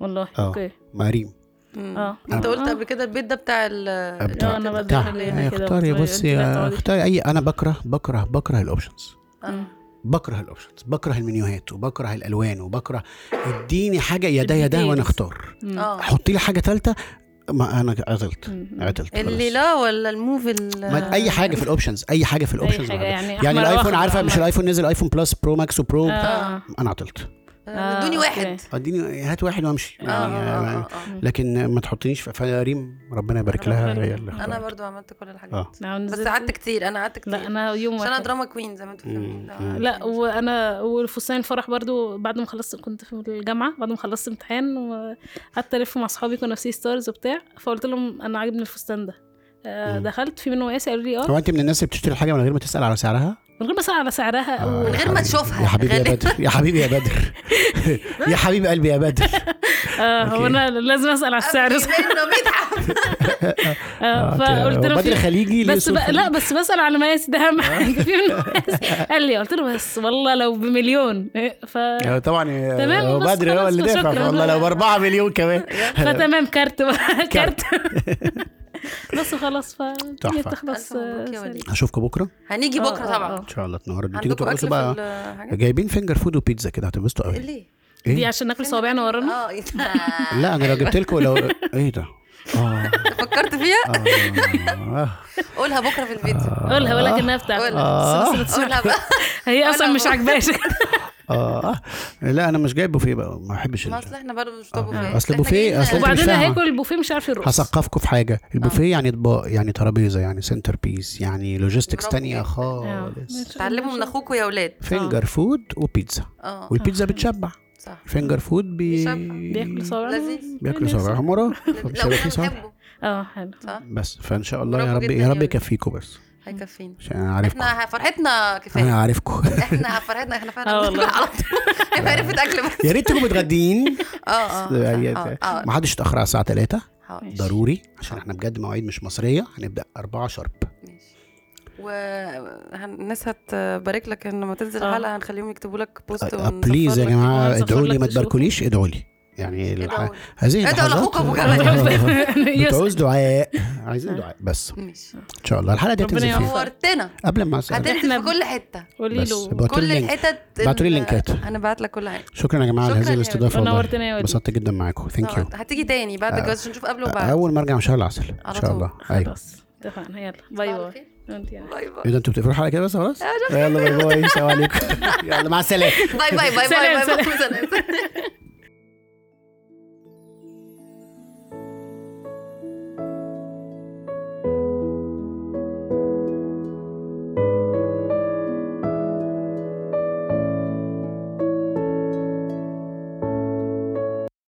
S1: والله
S3: آه.
S1: اوكي
S3: مريم
S2: مم.
S1: اه
S2: انت قلت
S1: آه.
S2: قبل كده البيت ده بتاع ال
S3: بتاع-
S1: آه، أنا بدي
S3: بتاع.
S1: أخلي هنا
S3: آه،
S1: كده
S3: اختاري
S1: وتغير-
S3: بصي
S1: تغير
S3: آه،
S1: تقعدي.
S3: اختاري اي انا بكره بكره بكره الاوبشنز
S2: آه.
S3: بكره الاوبشنز بكره المنيوهات وبكره الالوان وبكره اديني حاجه يا ده يا ده وانا
S1: الديتيلز.
S3: اختار
S1: مم.
S2: اه
S3: حطي لي حاجه ثالثه ما انا عدلت
S1: مم.
S3: عدلت
S2: اللي
S3: خلاص.
S2: لا ولا الموف ال
S3: ما اي حاجه في الاوبشنز اي حاجه في الاوبشنز
S1: حاجة
S3: أنا
S1: يعني
S3: عدلت. يعني
S1: أحمر
S3: الايفون
S1: وأخضر
S3: عارفه مش
S1: وأحمر.
S3: الايفون نزل ايفون بلس برو ماكس وبرو
S1: آه.
S3: انا عدلت
S1: آه،
S2: ادوني واحد
S1: أوكي.
S3: اديني هات واحد
S1: آه،
S3: وامشي
S2: اه اه
S3: يعني
S2: اه آه.
S3: لكن ما تحطنيش في- فريم ربنا يبارك لها طيب.
S1: ربنا
S3: هي
S1: يبارك
S3: اللي
S1: لها.
S2: انا
S3: اختارت.
S2: برضو عملت كل الحاجات
S3: اه
S1: أنا
S2: بس
S1: نعم، نزلت-
S2: قعدت كتير انا قعدت كتير
S1: لا انا يوم
S2: عشان انا
S1: واحد
S2: دراما كوين زي ما انتوا فاهمين
S3: مم.
S2: آه،
S1: لا
S2: عارفين.
S1: وانا والفستان الفرح برضو بعد ما خلصت كنت في الجامعه بعد ما خلصت امتحان وقعدت الف مع اصحابي كنا في سي ستارز وبتاع فقلت لهم انا عاجبني الفستان ده آه،
S3: مم.
S1: دخلت في منه مقاسي قالوا لي اه
S3: هو انت من الناس اللي بتشتري الحاجه من غير ما تسال على سعرها؟
S1: من غير ما اسال على سعرها
S3: آه،
S1: او
S3: يا
S2: من غير ما
S3: حبيبي.
S2: تشوفها.
S3: يا حبيبي يا
S2: غالباً. [LAUGHS]
S1: [LAUGHS]
S3: بدر يا حبيبي يا بدر يا حبيب قلبي يا بدر
S1: آه،
S3: أوكي.
S1: هو انا لازم اسال على السعر
S2: آه،
S1: [LAUGHS]
S2: منه بيتعب
S1: آه،
S3: آه،
S1: فقلت
S3: هو
S1: لهم في-
S3: بدر خليجي ليه
S1: بس
S3: صوت
S1: بقى لا بس بسال على مقاسي ده اهم
S3: آه.
S1: حاجه [LAUGHS] في منه مقاسي قال لي قلت له بس والله لو بمليون إيه، ف
S3: آه، طبعا
S1: تمام،
S3: هو
S1: بس
S3: بدر هو
S1: خلاص،
S3: اللي دافع
S1: شكراً.
S3: والله لو ب 4 مليون
S1: [LAUGHS]
S3: كمان [LAUGHS]
S1: فتمام كارت بقى،
S3: كارت.
S1: كارت [LAUGHS] بس خلاص فالدنيا
S3: تحفة.
S1: بتخلص
S2: ألف مبروك يا
S1: آه،
S2: وليد.
S3: هشوفكم بكره
S2: هنيجي
S1: آه،
S2: بكره
S1: آه،
S2: طبعا
S1: آه.
S3: ان شاء الله تنوروا تيجوا
S2: عندكم اكل
S3: ترقصوا
S2: في
S3: بقى
S2: الحاجات
S3: جايبين فينجر فود وبيتزا كده هتنبسطوا
S1: [LAUGHS]
S3: قوي
S2: ليه
S1: دي
S3: ايه
S1: عشان ناكل صوابعنا ورانا
S2: اه إيه ده؟
S3: لا انا لو
S1: أيوة.
S3: جبت لكم لو
S1: [LAUGHS]
S3: ايه ده اه
S2: فكرت فيها
S3: آه.
S2: قولها بكره في الفيديو
S1: قولها ولا كانها
S2: قولها.
S3: آه.
S1: بتاعتك بس- بس-
S2: قولها بقى
S1: بس- آه. [LAUGHS] هي اصلا
S2: قولها
S1: مش
S2: بقى.
S1: عاجباش
S3: اه لا انا مش جايب بوفيه بقى ما بحبش ال-
S2: ما اصل احنا برضه مش يعني. طابو
S3: آه. أصل بوفيه، أصل أنت-
S1: [LAUGHS] وبعدين
S3: فاهمة.
S1: هاكل البوفيه مش عارف يرقص
S3: هثقفكم في حاجه
S1: آه.
S3: البوفيه يعني اطباق يعني ترابيزه يعني سنتر بيس يعني لوجيستكس
S2: برافو
S3: تانية
S2: جدا.
S1: آه.
S3: خالص
S2: تعلموا من اخوكم يا اولاد
S3: فينجر فود وبيتزا
S2: اه
S3: والبيتزا بتشبع
S2: صح
S3: الفينجر فود بي...
S2: بيشبع.
S1: بياكلوا صوابعنا
S2: لذيذ.
S3: بياكلوا صوابعهم
S2: [LAUGHS]
S3: ورا فمش
S2: لو
S3: هيبقى
S2: احنا
S3: في صوابع
S2: بنحبه
S1: اه حلو [LAUGHS]
S2: صح
S3: بس فان شاء الله يا
S2: برافو
S3: رب
S2: جدا
S3: يا رب
S2: يعني.
S3: يكفيكم بس
S2: هيكفينا
S3: عشان انا عارفكم
S2: احنا فرحتنا
S3: انا
S2: كفايه [LAUGHS]
S3: عارفكم
S2: احنا فرحتنا احنا فعلا
S1: آه والله.
S2: بناكل [LAUGHS] على طول معرفه اكل بس
S3: يا ريت
S2: [LAUGHS]
S3: تكونوا متغديين يعني
S2: اه اه اه اه
S3: ما حدش يتاخر على الساعه 3
S2: حاضر.
S3: ضروري عشان احنا بجد مواعيد مش مصريه هنبدا 4 شرب
S2: ماشي والناس هتبارك لك ان لما تنزل
S1: آه.
S2: الحلقه هنخليهم يكتبوا لك بوست
S3: آه، بليز
S2: ونصفر
S3: يا
S2: لك.
S1: ونصفر
S3: جماعه ادعوا
S1: لك
S3: لي ما
S1: تشوف.
S3: تباركوليش ادعوا لي يعني الح...
S2: ادعوا لي.
S3: هذه
S2: ادعوا
S3: اللحظات-
S2: لأخوكم آه.
S3: آه.
S2: [LAUGHS]
S1: يس-
S3: [LAUGHS] بتعوز دعاء عايزين دعاء بس
S2: ماشي
S3: ان شاء الله الحلقه دي
S1: ربنا
S3: هتنزل فيها
S1: يعوض.
S2: نورتنا
S3: قبل ما اسال
S2: هتنزل
S1: إحنا
S2: في
S1: ب-
S2: كل حته
S1: قولي
S3: بس
S1: له
S3: ابعتوا
S2: كل
S3: لي اللينك.
S2: الحتت
S3: ابعتوا لي
S2: ال-
S3: اللينكات.
S2: هنبعت لك كل حاجه
S3: شكرا يا جماعه
S2: شكرا
S3: لهذه
S2: يا
S3: الاستضافه والله.
S1: نورتنا يا وليد.
S3: انبسطت جدا معاكم ثانك يو
S2: آه، هتيجي تاني بعد الجواز عشان نشوف قبل وبعد
S3: اول ما ارجع من شهر العسل ان
S2: على
S3: شاء
S2: طول.
S3: الله ايوه
S1: خلاص اتفقنا يلا
S3: طيب.
S1: باي
S2: على
S1: باي
S2: خير.
S1: وانت يعني
S2: باي باي
S3: ايه ده انتوا بتقفلوا الحلقه كده بس
S2: آه، [LAUGHS]
S3: خلاص يلا باي باي السلام عليكم يلا مع السلامه
S2: باي باي باي باي
S1: سلام،
S2: باي باي سلام.